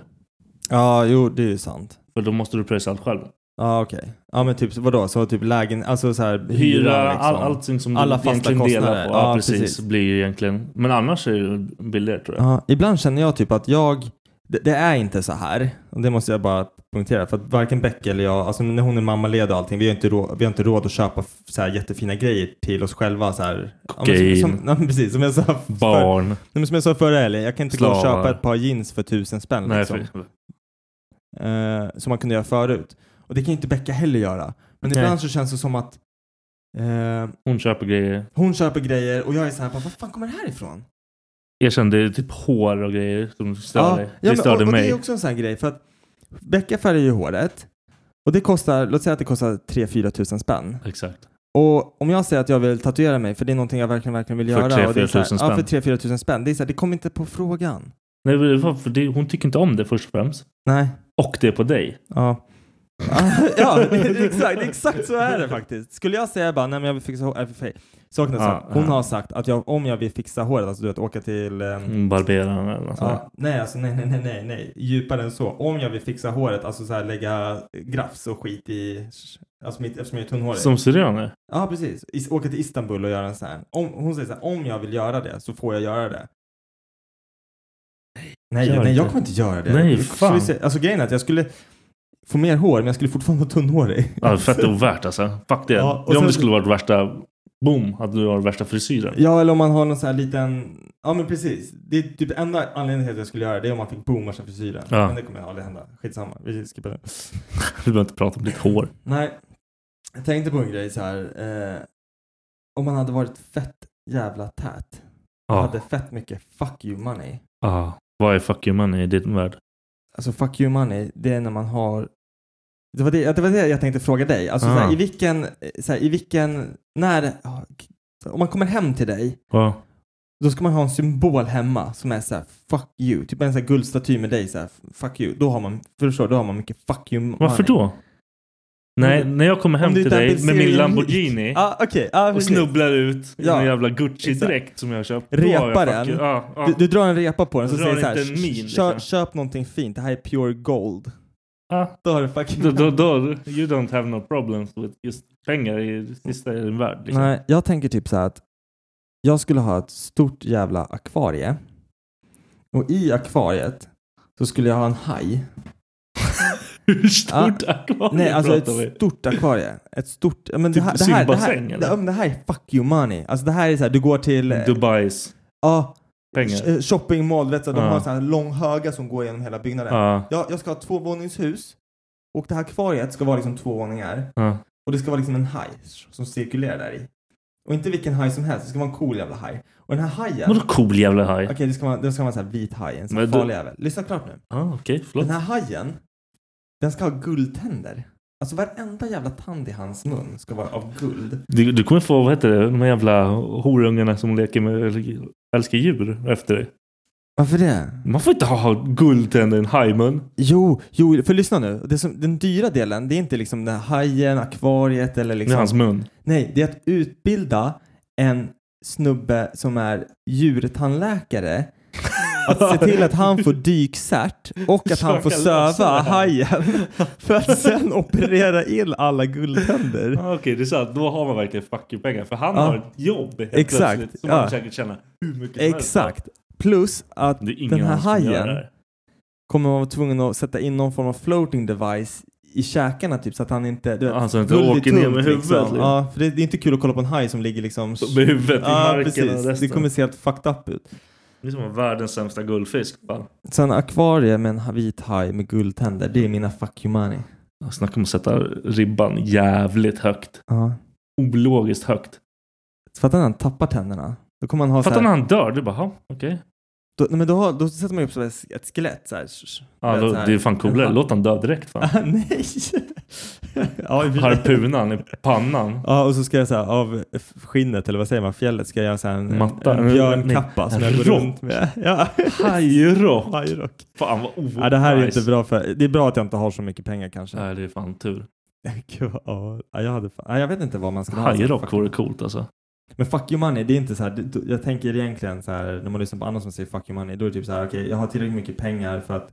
Speaker 3: Ja, jo, det är ju sant.
Speaker 2: För då måste du pröjsa allt själv.
Speaker 3: Ja, okej. Ja, men typ vadå? Så typ lägen, alltså så här
Speaker 2: Hyra, all, allting som
Speaker 3: liksom. Alla
Speaker 2: du
Speaker 3: fasta
Speaker 2: egentligen delar
Speaker 3: kostnader.
Speaker 2: på. Ja,
Speaker 3: Ja,
Speaker 2: precis.
Speaker 3: precis.
Speaker 2: Blir ju egentligen. Men annars är det ju billigare tror jag.
Speaker 3: Ja, ibland känner jag typ att jag, det, det är inte så här. Och det måste jag bara poängtera. För att varken Becka eller jag, alltså när hon är mammaledig och allting, vi har inte råd, vi har inte råd att köpa f- så här jättefina grejer till oss själva. Så här. Ja, men
Speaker 2: Kokain.
Speaker 3: Som, som, ja, men precis, som jag sa, för, nej,
Speaker 2: Barn.
Speaker 3: men som jag sa förra helgen, jag kan inte gå och
Speaker 2: Slavar.
Speaker 3: köpa ett par jeans för tusen spänn.
Speaker 2: Nej,
Speaker 3: liksom,
Speaker 2: för,
Speaker 3: eh, som man kunde göra förut. Och det kan ju inte Becka heller göra. Men ibland
Speaker 2: Nej.
Speaker 3: så känns det som att eh,
Speaker 2: hon köper grejer.
Speaker 3: hon köper grejer och jag är så här, bara, vad fan kommer det här ifrån?
Speaker 2: Erkänn, det är typ hår och grejer som stör dig. Det
Speaker 3: men-
Speaker 2: störde
Speaker 3: och, och
Speaker 2: mig.
Speaker 3: Det är också en sån här grej för att Becka färgar ju håret och det kostar, låt säga att det kostar 3-4 tusen spänn.
Speaker 2: Exakt.
Speaker 3: Och om jag säger att jag vill tatuera mig för det är någonting jag verkligen, verkligen vill
Speaker 2: För
Speaker 3: göra.
Speaker 2: 3-4
Speaker 3: och det är så här-
Speaker 2: 000
Speaker 3: Ja,
Speaker 2: spänn.
Speaker 3: för 3-4 tusen spänn. Det är så här, det kommer inte på frågan.
Speaker 2: Nej, men det var- för det, hon tycker inte om det först och främst.
Speaker 3: Nej.
Speaker 2: Och det är på dig.
Speaker 3: Ja. (laughs) ja, det är exakt, det är exakt så är det faktiskt. Skulle jag säga bara, nej men jag vill fixa håret, för saknas
Speaker 2: Ja,
Speaker 3: Hon
Speaker 2: ja.
Speaker 3: har sagt att jag, om jag vill fixa håret, alltså du vet åka till ehm,
Speaker 2: Mm, Barberaren eller något sånt där.
Speaker 3: Ja, nej, alltså nej, nej, nej, nej, nej, djupare än så. Om jag vill fixa håret, alltså så här lägga grafs och skit i, alltså mitt, eftersom jag är tunnhårig.
Speaker 2: Som syrianer.
Speaker 3: Ja, precis. Is, åka till Istanbul och göra en sån här. Om, hon säger så här, om jag vill göra det så får jag göra det. Nej,
Speaker 2: gör
Speaker 3: nej,
Speaker 2: inte.
Speaker 3: jag kommer inte göra det.
Speaker 2: Nej,
Speaker 3: Jag
Speaker 2: fan.
Speaker 3: skulle se- Alltså grejen är att jag skulle få mer hår, men jag skulle fortfarande vara tunnhårig.
Speaker 2: Ja, fett ovärt alltså. Fuck det.
Speaker 3: Ja, och
Speaker 2: det är om
Speaker 3: sen-
Speaker 2: det skulle varit värsta... Boom! Hade du varit värsta
Speaker 3: (laughs)
Speaker 2: frisyren.
Speaker 3: (laughs) Ja, eller om man har någon sån här liten, ja men precis. Det är typ enda anledningen till att jag skulle göra det, det är om man fick boomers av frisyren.
Speaker 2: Ja.
Speaker 3: Men det kommer aldrig hända. Skitsamma, vi skippar det.
Speaker 2: Vi behöver inte prata om ditt hår.
Speaker 3: Nej, jag tänkte på en grej så här. Eh, om man hade varit fett jävla tät. Hade fett mycket fuck you money.
Speaker 2: Ah. Vad är fuck you money i din värld?
Speaker 3: Alltså fuck you money, det är när man har... Det var det, det, var det jag tänkte fråga dig. Alltså
Speaker 2: Ah.
Speaker 3: så här, i vilken, eh, så här, i vilken, när, ja, k- om man kommer hem till dig,
Speaker 2: Ja.
Speaker 3: då ska man ha en symbol hemma som är så här fuck you. Typ en så här guldstaty med dig så här fuck you. Då har man, förstår du, då har man mycket fuck you money.
Speaker 2: Varför då? Nej, när jag kommer hem
Speaker 3: Om du
Speaker 2: till
Speaker 3: inte
Speaker 2: dig med
Speaker 3: applicerar
Speaker 2: min
Speaker 3: unik.
Speaker 2: Lamborghini
Speaker 3: Ja, ah, okej. Ah,
Speaker 2: och
Speaker 3: precis.
Speaker 2: snubblar ut i
Speaker 3: Ja,
Speaker 2: en jävla Gucci-dräkt som jag har köpt. då har jag
Speaker 3: Repar
Speaker 2: fuck
Speaker 3: den.
Speaker 2: you- Ja, ja.
Speaker 3: Du, du drar en repa på den så
Speaker 2: Drar
Speaker 3: säger så här,
Speaker 2: inte en min,
Speaker 3: "Kö-
Speaker 2: liksom."
Speaker 3: köp någonting fint, det här är pure gold.
Speaker 2: Ja.
Speaker 3: Då har du fucking...
Speaker 2: Då, då, då, you don't have no problems with just pengar i det sista i din värld. Liksom.
Speaker 3: Nej, jag tänker typ så här att jag skulle ha ett stort jävla akvarie och i akvariet så skulle jag ha en haj.
Speaker 2: (laughs) Hur stort akvarium
Speaker 3: Nej, alltså
Speaker 2: pratar vi?
Speaker 3: ett stort akvarie. Ett stort... ja, Men det
Speaker 2: Typ
Speaker 3: här, det här, det här,
Speaker 2: simbassäng,
Speaker 3: det,
Speaker 2: eller?
Speaker 3: ja, men det här är fuck you money. Alltså det här är så här, du går till... eh,
Speaker 2: Dubais
Speaker 3: Ja,
Speaker 2: pengar.
Speaker 3: sh- eh, shoppingmall, vet du, de
Speaker 2: Ja.
Speaker 3: har så här lång höga som går genom hela byggnaden.
Speaker 2: Ja,
Speaker 3: Ja, jag ska ha tvåvåningshus och det här akvariet ska vara liksom två våningar
Speaker 2: ja.
Speaker 3: och det ska vara liksom en haj som cirkulerar där i. Och inte vilken haj som helst, det ska vara en cool jävla haj. Och den här hajen,
Speaker 2: Vadå cool jävla haj?
Speaker 3: okej det ska vara, det ska vara en sån här vit haj, en sån här
Speaker 2: Men du-
Speaker 3: farlig jävel. Lyssna klart nu.
Speaker 2: Ah, Okej, förlåt.
Speaker 3: Den här hajen, den ska ha guldtänder. Alltså varenda jävla tand i hans mun ska vara av guld.
Speaker 2: Du, du kommer få, vad heter det, de här jävla horungarna som leker med, eller älskar djur efter dig.
Speaker 3: Varför det?
Speaker 2: Man får inte ha guldtänder i en hajmun.
Speaker 3: Jo, jo, för lyssna nu. Det som, den dyra delen, det är inte liksom den här hajen, akvariet eller
Speaker 2: Det är
Speaker 3: liksom...
Speaker 2: hans mun.
Speaker 3: Nej, det är att utbilda en snubbe som är djurtandläkare att se till att han får dykcert och att han får
Speaker 2: Försöka lösa
Speaker 3: söva
Speaker 2: det här.
Speaker 3: hajen för att sen operera in alla guldtänder.
Speaker 2: (laughs) Ah, Okej, det är sant. Då har man verkligen fucking pengar. För han
Speaker 3: Ja.
Speaker 2: har ett jobb helt
Speaker 3: Exakt,
Speaker 2: plötsligt. Som
Speaker 3: ja.
Speaker 2: han säkert tjänar hur mycket som helst.
Speaker 3: Exakt. Plus att
Speaker 2: Det är ingen
Speaker 3: den här
Speaker 2: annan som gör
Speaker 3: hajen
Speaker 2: det här.
Speaker 3: kommer man vara tvungen att sätta in någon form av floating device i käkarna typ så att han inte... Du vet,
Speaker 2: Ja, så att det
Speaker 3: guld är
Speaker 2: åker ner
Speaker 3: tungt,
Speaker 2: med huvudet,
Speaker 3: Liksom.
Speaker 2: liksom.
Speaker 3: Ja, för det, det är inte kul att kolla på en haj som ligger liksom...
Speaker 2: Med huvudet i
Speaker 3: Ja,
Speaker 2: marken och
Speaker 3: precis.
Speaker 2: resten.
Speaker 3: Det kommer se helt fucked up ut.
Speaker 2: Det är som världens sämsta guldfisk. Bara.
Speaker 3: Sen akvarie med en vit haj med guldtänder, det är mina fuck you money.
Speaker 2: Snacka om att sätta ribban jävligt högt.
Speaker 3: Ja.
Speaker 2: Ologiskt högt.
Speaker 3: Fattar när han tappar tänderna? Då kommer han ha så
Speaker 2: Fattar
Speaker 3: här,
Speaker 2: när han dör? Du bara, "Ha, okej.
Speaker 3: då, nej, men då, har, då sätter man ju upp så här ett skelett så här.
Speaker 2: Ja, då,
Speaker 3: så här.
Speaker 2: det är fan coolare. Låt han dö direkt fan.
Speaker 3: (laughs) Ah, nej! ja, i bilen.
Speaker 2: Harpunan i pannan.
Speaker 3: ja, och så ska jag så här, av skinnet, eller vad säger man, fjället, ska jag göra så här en,
Speaker 2: Matta,
Speaker 3: en, en
Speaker 2: nej,
Speaker 3: björnkappa
Speaker 2: nej,
Speaker 3: som
Speaker 2: en
Speaker 3: jag går
Speaker 2: rock.
Speaker 3: runt med. (laughs) Ja.
Speaker 2: Hajrock.
Speaker 3: Hajrock.
Speaker 2: Fan vad ovotajs.
Speaker 3: Ja, det här är inte bra för, det är bra att jag inte har så mycket pengar kanske.
Speaker 2: Nej, det är fan tur.
Speaker 3: (laughs) Gud, ja, Ja, jag, hade, fan- ja, jag vet inte vad man ska ha.
Speaker 2: Hajrock vore coolt alltså.
Speaker 3: Men fuck you money, det är inte så här, det- du- jag tänker egentligen så här, när man lyssnar på andra som säger fuck you money, då är det typ så här, okej, jag har tillräckligt mycket pengar för att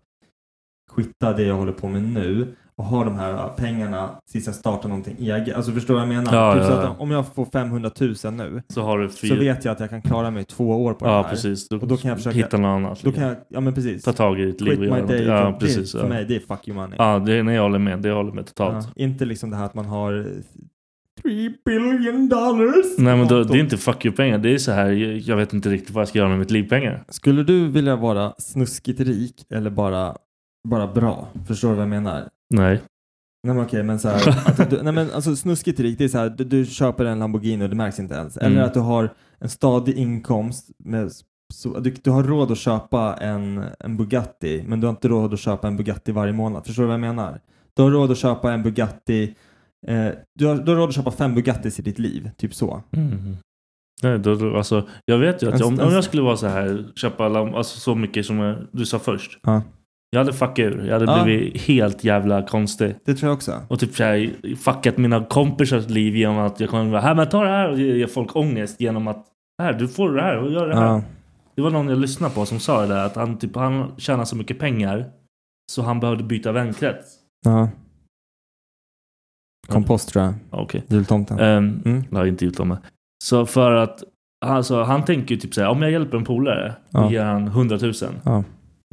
Speaker 3: skitta det jag håller på med nu och ha de här äh, pengarna tills jag startar någonting eget. Alltså förstår du vad jag menar?
Speaker 2: Ja,
Speaker 3: typ
Speaker 2: ja,
Speaker 3: så att
Speaker 2: ja.
Speaker 3: om jag får 500 000 nu
Speaker 2: Så har du fyra.
Speaker 3: så vet jag att jag kan klara mig två år på det
Speaker 2: ja,
Speaker 3: här.
Speaker 2: precis.
Speaker 3: Och då kan jag försöka-
Speaker 2: hitta något annat.
Speaker 3: Då kan jag, ja men precis.
Speaker 2: Ta tag i ditt liv
Speaker 3: Quit
Speaker 2: och
Speaker 3: my
Speaker 2: göra något.
Speaker 3: day.
Speaker 2: Ja,
Speaker 3: job.
Speaker 2: precis.
Speaker 3: det,
Speaker 2: Ja.
Speaker 3: för mig, det är fuck you money.
Speaker 2: Ja, det är när jag håller med. Det jag håller med totalt.
Speaker 3: Ja, inte liksom det här att man har 3 billion dollars.
Speaker 2: Nej, men då,
Speaker 3: konto.
Speaker 2: det är inte fuck you-pengar. Det är så här, jag, jag vet inte riktigt vad jag ska göra med mitt liv-pengar.
Speaker 3: Skulle du vilja vara snuskigt rik eller bara, bara bra? Förstår du vad jag menar?
Speaker 2: Nej.
Speaker 3: Nej men okej, men
Speaker 2: (laughs)
Speaker 3: så här, att du, nej men alltså snuskigt rik, det är så här, du, du köper en Lamborghini och det märks inte ens. Eller
Speaker 2: Mm.
Speaker 3: att du har en stadig inkomst, med, så, du, du har råd att köpa en, en Bugatti, men du har inte råd att köpa en Bugatti varje månad. Förstår du vad jag menar? Du har råd att köpa en Bugatti, eh, du, har, du har råd att köpa fem Bugattis i ditt liv, typ så.
Speaker 2: Mm. Nej, då, då, alltså, jag vet ju att jag, om, om jag skulle vara så här, köpa alla, alltså, så mycket som jag, du sa först.
Speaker 3: Ja.
Speaker 2: Jag hade fuckat ur. Jag hade
Speaker 3: Ja.
Speaker 2: blivit helt jävla konstig.
Speaker 3: Det tror jag också.
Speaker 2: Och typ så här, fuckat mina kompisars liv genom att jag kommer vara här, men ta det här och ge ge folk ångest genom att här, du får det här och gör det här.
Speaker 3: Ja.
Speaker 2: Det var någon jag lyssnade på som sa det där att han, typ, han tjänar så mycket pengar så han behövde byta vänkrets.
Speaker 3: ja. Kompost tror jag.
Speaker 2: Okej.
Speaker 3: Jultomten.
Speaker 2: Ehm,
Speaker 3: Ah, Mm.
Speaker 2: Det har jag inte gjort om det. Så för att alltså, han tänker ju typ så här, om jag hjälper en polare och
Speaker 3: Ja.
Speaker 2: ger han 100 000.
Speaker 3: Ja.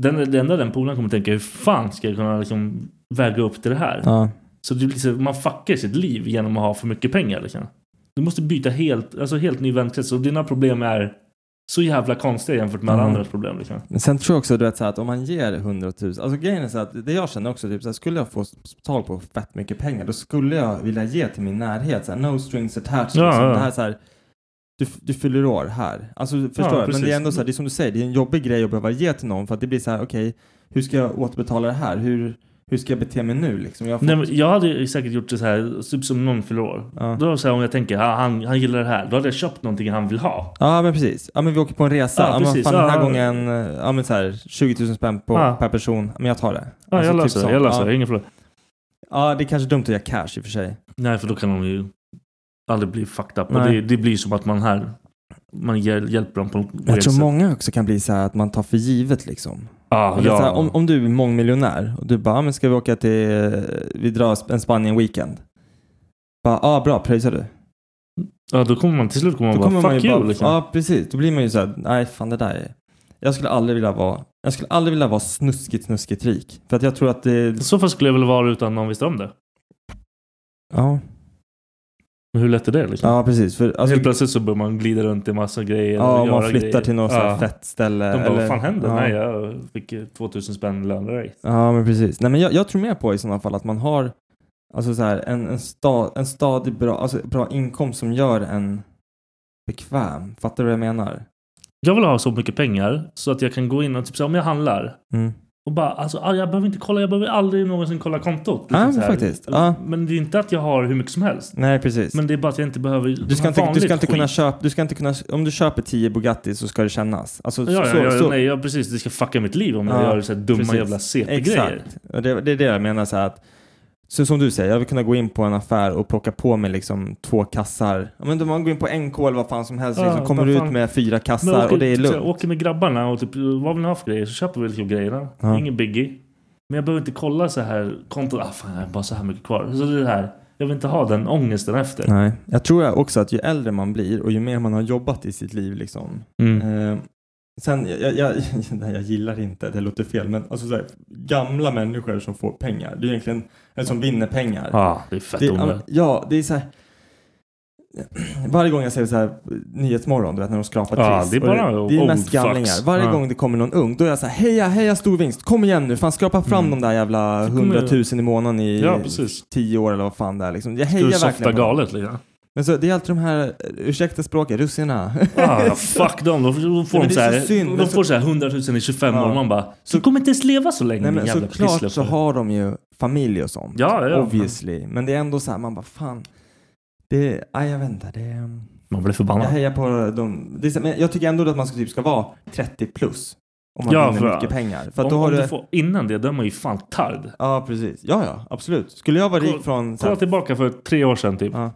Speaker 2: Den, det enda den polaren kommer tänka, hur fan ska jag kunna liksom väga upp till det här?
Speaker 3: Ja.
Speaker 2: Så det blir så, man fuckar sitt liv genom att ha för mycket pengar. Liksom. Du måste byta helt, alltså helt ny vänkrets och dina problem är så jävla konstiga jämfört med alla
Speaker 3: Mm.
Speaker 2: andras problem. Liksom.
Speaker 3: Men sen tror jag också du vet, så här, att om man ger 100 000, alltså grejen är så här, att det jag känner också, typ, så här, skulle jag få tag på fett mycket pengar, då skulle jag vilja ge till min närhet, så här, no strings attached.
Speaker 2: Ja,
Speaker 3: liksom.
Speaker 2: ja.
Speaker 3: Det här, så här, du, du fyller år här. Alltså förstår
Speaker 2: Ja,
Speaker 3: du? Men
Speaker 2: precis.
Speaker 3: det är ändå så här, det är som du säger, det är en jobbig grej att behöva ge till någon för att det blir så här, okej, hur ska jag återbetala det här? Hur, hur ska jag bete mig nu liksom? Jag har fått,
Speaker 2: Nej, men jag hade ju säkert gjort det så här, typ som någon fyller år.
Speaker 3: Ja.
Speaker 2: Då så här, om jag tänker, "Ah, han, han gillar det här. Då hade jag köpt någonting han vill ha.
Speaker 3: Ja men precis. Ja men vi åker på en resa.
Speaker 2: Ja,
Speaker 3: Ja, men
Speaker 2: precis.
Speaker 3: fan, den här
Speaker 2: Ja.
Speaker 3: gången, eh, ja men så här 20 000 spänn på,
Speaker 2: Ja.
Speaker 3: per person. Men jag tar det.
Speaker 2: Ja,
Speaker 3: Alltså,
Speaker 2: jag
Speaker 3: typ
Speaker 2: löser det.
Speaker 3: sånt.
Speaker 2: Jag löser det.
Speaker 3: ja.
Speaker 2: Ingen problem.
Speaker 3: ja det är kanske dumt att ge cash i och för sig.
Speaker 2: Nej, för då kan de ju aldrig bli fucked up. Och
Speaker 3: Nej.
Speaker 2: det, det blir som att man här, man hjäl- hjälper dem på en
Speaker 3: Jag tror många också kan bli så här att man tar för givet liksom.
Speaker 2: ah,
Speaker 3: Det är
Speaker 2: ja.
Speaker 3: så här, om, om du är mångmiljonär och du bara, ah, men ska vi åka till, eh, vi drar en Spanien-weekend. Bara, ja ah, bra, pröjsar du.
Speaker 2: ja, då kommer man till slut kommer man
Speaker 3: Då
Speaker 2: bara,
Speaker 3: kommer
Speaker 2: fuck
Speaker 3: man ju
Speaker 2: you.
Speaker 3: bara,
Speaker 2: liksom.
Speaker 3: ja precis. Då blir man ju så här, nej fan det där är... Jag skulle aldrig vilja vara, jag skulle aldrig vilja vara snuskigt, snuskigt rik. För att jag tror att det,
Speaker 2: I så fall skulle jag väl vara utan någon visste om det.
Speaker 3: ja.
Speaker 2: Men hur lätt är det liksom?
Speaker 3: Ja, precis. För, alltså,
Speaker 2: Helt plötsligt så börjar man glida runt i massa grejer.
Speaker 3: ja,
Speaker 2: och
Speaker 3: om man
Speaker 2: göra
Speaker 3: flyttar
Speaker 2: grejer.
Speaker 3: till något ja.
Speaker 2: Ja.
Speaker 3: fett ställe.
Speaker 2: De bara,
Speaker 3: eller-
Speaker 2: vad fan händer?
Speaker 3: Ja.
Speaker 2: Nej, jag fick 2000 spänn lönerate.
Speaker 3: ja, men precis. Nej, men jag, jag tror mer på i sådana fall att man har alltså, så här, en, en, sta, en stadig bra, alltså, bra inkomst som gör en bekväm. Fattar du vad jag menar?
Speaker 2: Jag vill ha så mycket pengar så att jag kan gå in och typ så här, om jag handlar.
Speaker 3: Mm.
Speaker 2: Och bara, alltså, all- jag behöver inte kolla, jag behöver aldrig någonsin kolla kontot. Liksom
Speaker 3: Ja,
Speaker 2: så här.
Speaker 3: faktiskt. Ja.
Speaker 2: Men det är inte att jag har hur mycket som helst.
Speaker 3: Nej, precis.
Speaker 2: Men det är bara att jag inte behöver
Speaker 3: du ska, inte, du, ska inte kunna
Speaker 2: köpa.
Speaker 3: köpa, du ska inte kunna, om du köper 10 Bugatti så ska det kännas. Alltså,
Speaker 2: Ja,
Speaker 3: så,
Speaker 2: ja, ja,
Speaker 3: så.
Speaker 2: nej, ja, precis. Det ska fucka mitt liv om jag
Speaker 3: Ja,
Speaker 2: gör så här dumma
Speaker 3: precis.
Speaker 2: jävla CP-grejer.
Speaker 3: Exakt. Och det, det är det jag menar så här att, så som du säger, jag vill kunna gå in på en affär och plocka på mig liksom två kassar. Ja, men då man går in på NK eller vad fan som helst,
Speaker 2: Ja,
Speaker 3: liksom, kommer
Speaker 2: vad
Speaker 3: du ut
Speaker 2: fan.
Speaker 3: med fyra
Speaker 2: Men
Speaker 3: kassar och det är
Speaker 2: typ
Speaker 3: lugnt.
Speaker 2: såhär, åker med grabbarna och typ, vad vill ni ha för grejer? Så köper vi liksom grejerna.
Speaker 3: Ja.
Speaker 2: Ingen biggie. Men jag behöver inte kolla så här kontot. Ah, fan, jag har bara så här mycket kvar. Så det är det här. Jag vill inte ha den ångesten efter.
Speaker 3: Nej, jag tror jag också att ju äldre man blir och ju mer man har jobbat i sitt liv liksom.
Speaker 2: Mm.
Speaker 3: Eh, sen, jag, jag, (laughs) jag, nej, jag gillar inte, det låter fel, men alltså så här, gamla människor som får pengar, det är egentligen, eller som vinner pengar.
Speaker 2: Ah, det är fett
Speaker 3: Det, ja, men-
Speaker 2: onödigt.
Speaker 3: ja, det är så här. (clears throat) Varje gång jag ser så här Nyhetsmorgon, du vet när de skrapar
Speaker 2: Ja,
Speaker 3: triss.
Speaker 2: det är
Speaker 3: och
Speaker 2: bara
Speaker 3: det, det är
Speaker 2: old
Speaker 3: mest gamlingar.
Speaker 2: fucks.
Speaker 3: Varje
Speaker 2: Ja.
Speaker 3: gång det kommer någon ung, då är jag så här heja, heja stor vinst, kom igen nu, fan skrapa fram
Speaker 2: Mm.
Speaker 3: de där jävla
Speaker 2: Det kommer-
Speaker 3: hundratusen i månaden i
Speaker 2: Ja, precis.
Speaker 3: tio år eller vad fan det är liksom. Jag
Speaker 2: Du
Speaker 3: hejar
Speaker 2: softar
Speaker 3: verkligen på dem.
Speaker 2: galet liksom.
Speaker 3: Men så, det är alltid de här, eh, ursäkta språket, russina.
Speaker 2: Ah, fuck dem. De får, de får, de
Speaker 3: men det
Speaker 2: så
Speaker 3: är så
Speaker 2: här,
Speaker 3: synd, men
Speaker 2: de
Speaker 3: så-
Speaker 2: får så här 100 000 i 25
Speaker 3: Ja.
Speaker 2: år. Man bara,
Speaker 3: Så-
Speaker 2: så, du kommer inte ens leva så länge
Speaker 3: (laughs) Nej men
Speaker 2: din jävla
Speaker 3: såklart så
Speaker 2: pisslöpare.
Speaker 3: har de ju familj och sånt.
Speaker 2: Ja, ja, ja.
Speaker 3: Obviously. Men det är ändå så här, man bara fan. Det, aj, jag vet inte, det är...
Speaker 2: Man blir
Speaker 3: Jag
Speaker 2: förbannad.
Speaker 3: hejar på dem. Det är, så- men jag tycker ändå att man ska, typ ska vara 30 plus. Om man
Speaker 2: Ja,
Speaker 3: vinner
Speaker 2: för-
Speaker 3: mycket pengar. För att
Speaker 2: Om,
Speaker 3: då har
Speaker 2: om
Speaker 3: du...
Speaker 2: du får, innan det, då är man ju fan tard.
Speaker 3: Ja, precis. Ja, ja, absolut. Skulle jag vara
Speaker 2: Kolla-
Speaker 3: rik från... så här-
Speaker 2: Kolla tillbaka för tre år sedan typ.
Speaker 3: Ja.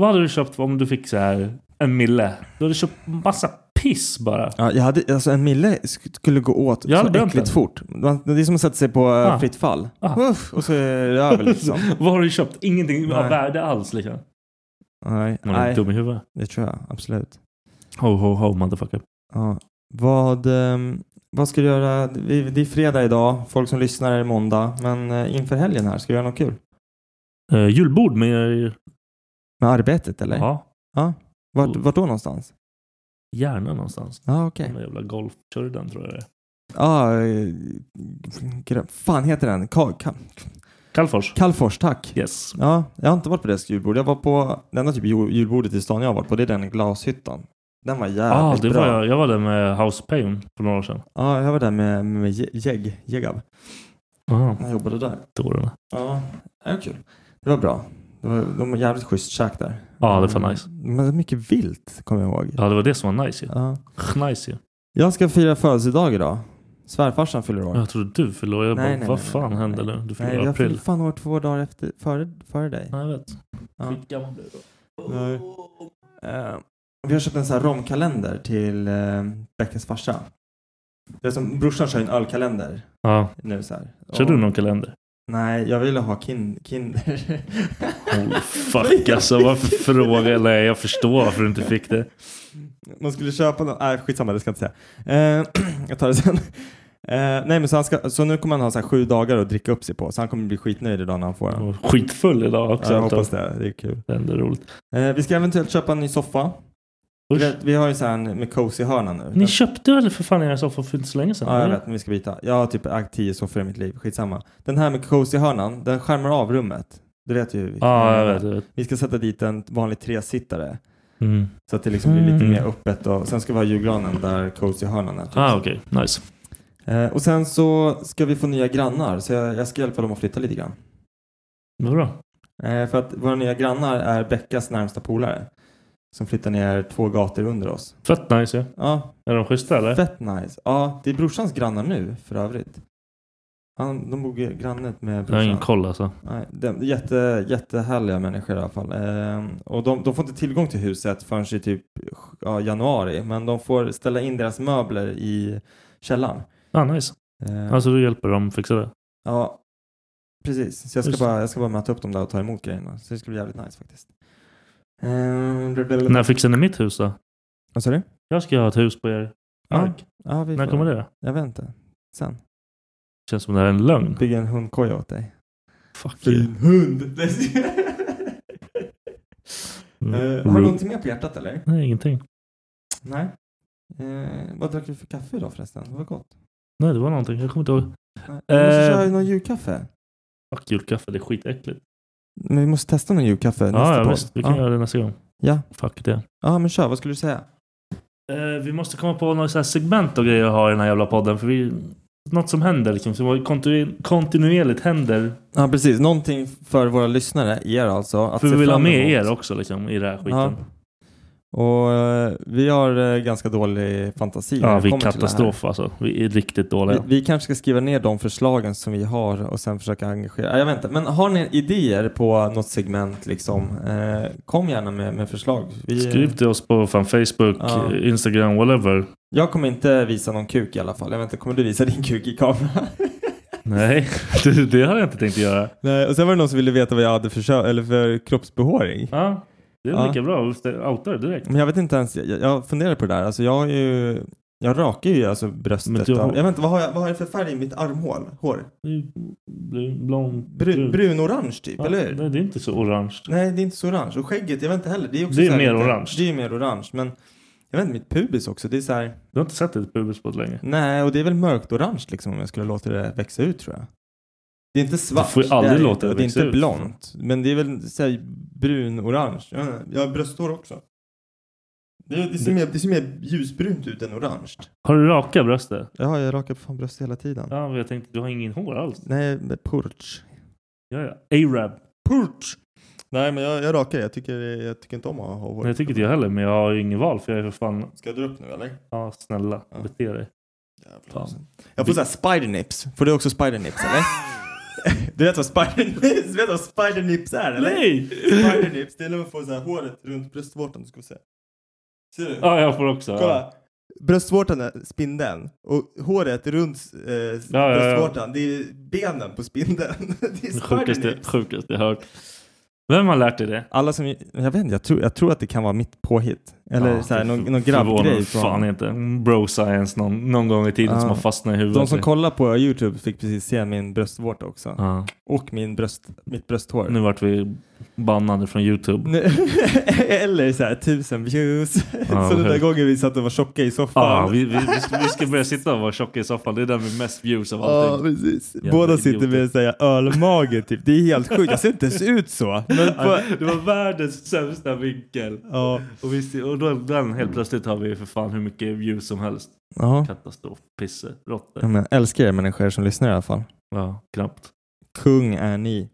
Speaker 2: Vad hade du köpt om du fick så här en mille? Du hade köpt massa piss bara.
Speaker 3: Ja, jag hade, alltså en mille sk- skulle gå åt
Speaker 2: Jag hade
Speaker 3: så
Speaker 2: bränt
Speaker 3: äckligt
Speaker 2: den.
Speaker 3: fort. Man- Det är som att sätta sig på eh,
Speaker 2: Ah.
Speaker 3: fritt fall.
Speaker 2: Ah.
Speaker 3: Uff, och så är det
Speaker 2: (laughs)
Speaker 3: över liksom.
Speaker 2: Vad har du köpt? Ingenting
Speaker 3: Nej.
Speaker 2: av värde alls liksom.
Speaker 3: Nej,
Speaker 2: Man är
Speaker 3: nej,
Speaker 2: dum i huvudet.
Speaker 3: det tror jag. Absolut.
Speaker 2: Ho, ho, ho, motherfucker.
Speaker 3: Ja. Vad, ehm, vad ska du göra? Vi- Det är fredag idag. Folk som lyssnar är måndag. Men eh, inför helgen här, ska du göra något kul?
Speaker 2: Eh, julbord med er.
Speaker 3: Med arbetet eller?
Speaker 2: Ja,
Speaker 3: Vart, vart då någonstans?
Speaker 2: gärna någonstans.
Speaker 3: Ja, ah, okej.
Speaker 2: Den där jävla golfkörden tror jag det är.
Speaker 3: Ja, eh, grö- fan heter den? Ka- ka-
Speaker 2: Kallfors.
Speaker 3: Kalfors, tack.
Speaker 2: Yes.
Speaker 3: Ja, jag har inte varit på deras julbord. Jag var på, det enda typ jul- julbordet i stan jag har varit på, det är den i glashyttan. Den var
Speaker 2: ah,
Speaker 3: jävligt
Speaker 2: det
Speaker 3: bra.
Speaker 2: var jag. Jag var där med House Pain för några år sedan.
Speaker 3: Ja, jag var där med, med Je- Jeg, Jegab.
Speaker 2: Aha,
Speaker 3: Han jobbade där.
Speaker 2: dårarna.
Speaker 3: Ja, det var kul. Det var bra. Det var, de har jävligt schysst käk där.
Speaker 2: Ja, det var
Speaker 3: Mm.
Speaker 2: fan nice.
Speaker 3: Men det var mycket vilt, kommer jag ihåg.
Speaker 2: Ja, det var det som var nice ju.
Speaker 3: Ja.
Speaker 2: Nice ju.
Speaker 3: Jag ska fira födelsedag idag. Svärfarsan fyller år.
Speaker 2: Jag trodde du förlorade. Jag bara, vad fan hände nu? Du
Speaker 3: nej,
Speaker 2: förlorade
Speaker 3: jag
Speaker 2: april.
Speaker 3: fyllde fan år två dagar efter, före, före dig.
Speaker 2: Ja, jag vet.
Speaker 3: Ja.
Speaker 2: Skitgammal blev du.
Speaker 3: Nej. Eh, vi har köpt en sån här romkalender till uh, Beckas farsa. Det är som brorsan kör en ölkalender
Speaker 2: Ja.
Speaker 3: nu så här.
Speaker 2: Kör
Speaker 3: Och-
Speaker 2: du någon kalender?
Speaker 3: Nej, jag ville ha kin- Kinder. (laughs)
Speaker 2: Holy fuck alltså, varför fråga? Nej, jag förstår varför du inte fick det.
Speaker 3: Man skulle köpa någon, nej skitsamma det ska jag inte säga. Eh, (clears throat) jag tar det sen. Eh, nej men så, han ska, så nu kommer han ha så här sju dagar att dricka upp sig på. Så han kommer bli skitnöjd idag när han får
Speaker 2: Jag
Speaker 3: den.
Speaker 2: var skitfull idag
Speaker 3: Ja,
Speaker 2: också.
Speaker 3: jag hoppas det, det är kul.
Speaker 2: Det är ändå roligt.
Speaker 3: Eh, vi ska eventuellt köpa en ny soffa.
Speaker 2: Usch.
Speaker 3: Vi- Vi har ju så här en med cozy hörna nu.
Speaker 2: Ni köpte väl för fan era soffa för inte så länge sedan?
Speaker 3: Ja, jag
Speaker 2: eller?
Speaker 3: vet, men vi ska byta. Jag har typ ägt tio soffor i mitt liv, skitsamma. Den här med cozy-hörnan, den skärmar av rummet. Du vet ju. vilken
Speaker 2: Ja, jag
Speaker 3: hörna.
Speaker 2: vet. Jag vet.
Speaker 3: Vi ska sätta dit en vanlig tresittare.
Speaker 2: Mm.
Speaker 3: Så att det liksom blir lite
Speaker 2: Mm.
Speaker 3: mer öppet och sen ska vi ha julgranen där cozy-hörnan är. typ.
Speaker 2: Ah, okej. Nice.
Speaker 3: Eh, och sen så ska vi få nya grannar, så jag, jag ska hjälpa dem att flytta lite grann.
Speaker 2: Vad bra.
Speaker 3: Eh, för att våra nya grannar är Beckas närmsta polare. Som flyttar ner två gator under oss.
Speaker 2: Fett nice ju.
Speaker 3: Ja,
Speaker 2: Är de schyssta eller?
Speaker 3: Fett nice. Ja, det är brorsans grannar nu för övrigt. Han, de bor grannet med
Speaker 2: Jag har
Speaker 3: brorsan.
Speaker 2: ingen koll alltså.
Speaker 3: Nej, de, jätte, jättehärliga människor i alla fall. Ehm, och de, de får inte tillgång till huset förrän i typ ja, januari. Men de får ställa in deras möbler i källaren.
Speaker 2: Ah, nice.
Speaker 3: Ehm,
Speaker 2: Alltså du hjälper dem fixa det?
Speaker 3: Ja, precis. Så jag ska,
Speaker 2: Just det.
Speaker 3: bara, jag ska bara möta upp dem där och ta emot grejerna. Så det ska bli jävligt nice faktiskt. Ehm, blablabla.
Speaker 2: När fixar ni mitt hus då?
Speaker 3: Vad sa du?
Speaker 2: Jag ska ha ett hus på er
Speaker 3: Ja,
Speaker 2: mark.
Speaker 3: ja, vi
Speaker 2: När
Speaker 3: får-
Speaker 2: kommer det? Mm.
Speaker 3: Jag vet inte. Sen.
Speaker 2: Känns som det här är en lögn.
Speaker 3: Bygga en hundkoja åt dig.
Speaker 2: Fuck you.
Speaker 3: Fin hund. (laughs)
Speaker 2: Mm.
Speaker 3: Eh, har du
Speaker 2: Rude.
Speaker 3: någonting mer på hjärtat eller?
Speaker 2: Mm. Nej, ingenting.
Speaker 3: Nej. Eh, vad drack vi för kaffe idag förresten? Det var gott.
Speaker 2: Nej, det var någonting. Jag kommer inte ihåg.
Speaker 3: Nej, Vi måste
Speaker 2: Eh.
Speaker 3: köra någon julkaffe.
Speaker 2: Fuck julkaffe, det är skitäckligt.
Speaker 3: Men vi måste testa någon julkaffe nästa
Speaker 2: Ja, ja
Speaker 3: podd.
Speaker 2: visst. Vi kan
Speaker 3: ja.
Speaker 2: göra det nästa gång.
Speaker 3: Ja.
Speaker 2: Fuck det.
Speaker 3: ja, men kör. Vad skulle du säga?
Speaker 2: Eh, vi måste komma på några så här segment och grejer att ha i den här jävla podden. För vi Något som händer liksom, som kontinu- kontinuerligt händer.
Speaker 3: Ja, precis. Någonting för våra lyssnare, er alltså. Att
Speaker 2: För
Speaker 3: se
Speaker 2: vi vill ha
Speaker 3: fram
Speaker 2: med
Speaker 3: emot.
Speaker 2: er också liksom, i den här skiten.
Speaker 3: Ja. Och eh, vi har eh, ganska dålig fantasi. när
Speaker 2: Ja,
Speaker 3: det
Speaker 2: vi är
Speaker 3: kommer till det här.
Speaker 2: katastrof alltså. Vi är riktigt dåliga.
Speaker 3: Vi, vi kanske ska skriva ner de förslagen som vi har och sen försöka engagera. Ja, Jag vet inte. Men har ni idéer på något segment liksom? Eh, kom gärna med, med förslag. Vi,
Speaker 2: Skriv till oss på fan, Facebook,
Speaker 3: eh, Ja.
Speaker 2: eh, Instagram, whatever.
Speaker 3: Jag kommer inte visa någon kuk i alla fall. Jag vet inte, kommer du visa din kuk i kameran?
Speaker 2: (laughs) Nej, det, det har jag inte tänkt göra.
Speaker 3: Nej, och sen var det någon som ville veta vad jag hade för, kö- eller för kroppsbehåring.
Speaker 2: Ja, det är
Speaker 3: Ja.
Speaker 2: lika bra. Outa det direkt.
Speaker 3: Men jag vet inte ens, jag, jag funderar på det där. Alltså jag har ju, jag rakar ju alltså
Speaker 2: Men
Speaker 3: bröstet.
Speaker 2: du har-
Speaker 3: av- Jag vet inte, vad har jag, vad har jag för färg i mitt armhål? Hår?
Speaker 2: Bl- Blond.
Speaker 3: Bru, Brunorange typ,
Speaker 2: Ja,
Speaker 3: eller hur?
Speaker 2: Nej, det är inte så orange.
Speaker 3: Nej, det är inte så orange. Och skägget, jag vet inte heller. Det är, också
Speaker 2: Det är
Speaker 3: så här
Speaker 2: mer
Speaker 3: lite-
Speaker 2: orange.
Speaker 3: Det är mer orange, men jag vet inte, mitt pubis också. Det är så här,
Speaker 2: Du har inte sett ett pubis på länge.
Speaker 3: nej, och det är väl mörkt orange liksom om jag skulle låta det växa ut tror jag. Det är inte svart.
Speaker 2: Du får ju aldrig
Speaker 3: är
Speaker 2: låta
Speaker 3: inte,
Speaker 2: det
Speaker 3: och Det är
Speaker 2: växa
Speaker 3: inte
Speaker 2: ut.
Speaker 3: blont, men det är väl så här brun-orange. Jag vet inte, Jag har brösthår också. Det, det, ser
Speaker 2: Det-
Speaker 3: mer, det ser mer ljusbrunt ut än orange.
Speaker 2: Har du raka bröst där?
Speaker 3: Ja, jag rakar fan bröst hela tiden.
Speaker 2: Ja, men jag tänkte du har ingen hår alls.
Speaker 3: Nej, med purch.
Speaker 2: Ja, ja. Arab.
Speaker 3: Purch! Nej, men jag, jag rakar. Jag tycker, jag tycker inte om att ha hår.
Speaker 2: Nej, jag tycker inte jag heller, men jag har ju ingen val för jag är för fan...
Speaker 3: Ska jag dra upp nu eller?
Speaker 2: Ja, snälla.
Speaker 3: Ja.
Speaker 2: Bete dig.
Speaker 3: Jävlar. alltså.
Speaker 2: Fan.
Speaker 3: Jag får såhär spidernips. Får du också spidernips
Speaker 2: (laughs)
Speaker 3: eller? du vet vad spidernips, vet vad spidernips är eller?
Speaker 2: Nej!
Speaker 3: Spidernips, det är när man får såhär håret runt bröstvårtan, du ska få se. Ser du?
Speaker 2: Ja, jag får också.
Speaker 3: Kolla!
Speaker 2: Ja.
Speaker 3: Bröstvårtan är spindeln och håret runt eh,
Speaker 2: ja, ja.
Speaker 3: bröstvårtan, det är benen på spindeln. (laughs) det är
Speaker 2: Det sjukaste,
Speaker 3: spidernips.
Speaker 2: sjukaste jag hört. Vem har lärt dig det?
Speaker 3: Alla som, jag vet inte, jag tror, jag tror att det kan vara mitt påhitt. Eller
Speaker 2: Ja,
Speaker 3: såhär
Speaker 2: det
Speaker 3: någon,
Speaker 2: för-
Speaker 3: någon
Speaker 2: förvånar mig
Speaker 3: grabbgrej
Speaker 2: fan
Speaker 3: från...
Speaker 2: inte. Bro science någon, någon gång i tiden
Speaker 3: Ja.
Speaker 2: som har fastnat i huvudet.
Speaker 3: De som kollar på YouTube fick precis se min bröstvårta också.
Speaker 2: ja.
Speaker 3: Och min bröst, mitt brösthår.
Speaker 2: Nu vart vi bannade från YouTube.
Speaker 3: Nu- Eller så här, tusen views.
Speaker 2: Ja,
Speaker 3: (laughs) så den där
Speaker 2: hur-
Speaker 3: gången vi satt och var tjocka i soffan.
Speaker 2: Ja, vi, vi, vi, ska- vi ska börja sitta och vara tjocka i soffan. Det är där med mest views av
Speaker 3: Ja,
Speaker 2: allting.
Speaker 3: precis.
Speaker 2: Jävla
Speaker 3: Båda sitter
Speaker 2: idioter.
Speaker 3: med så här, ölmage typ. Det är helt sjukt. Jag ser inte ens ut så. Men på...
Speaker 2: Det var världens sämsta vinkel.
Speaker 3: Ja.
Speaker 2: Och, vi, ser- och då, den helt plötsligt har vi för fan hur mycket views som helst.
Speaker 3: Ja.
Speaker 2: Katastrof, pisse, råttor.
Speaker 3: Ja, men älskar er människor som lyssnar i alla fall.
Speaker 2: Ja, knappt.
Speaker 3: Kung är ni.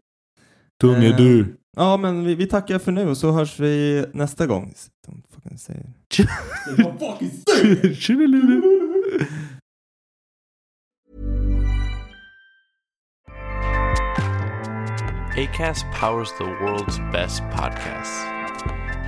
Speaker 2: Tung är
Speaker 3: Eh,
Speaker 2: du.
Speaker 3: Ja, men vi, vi tackar för nu och så hörs vi nästa gång. Don't fucking say it.
Speaker 2: Eh, (laughs)
Speaker 5: ACAST powers the world's best podcasts.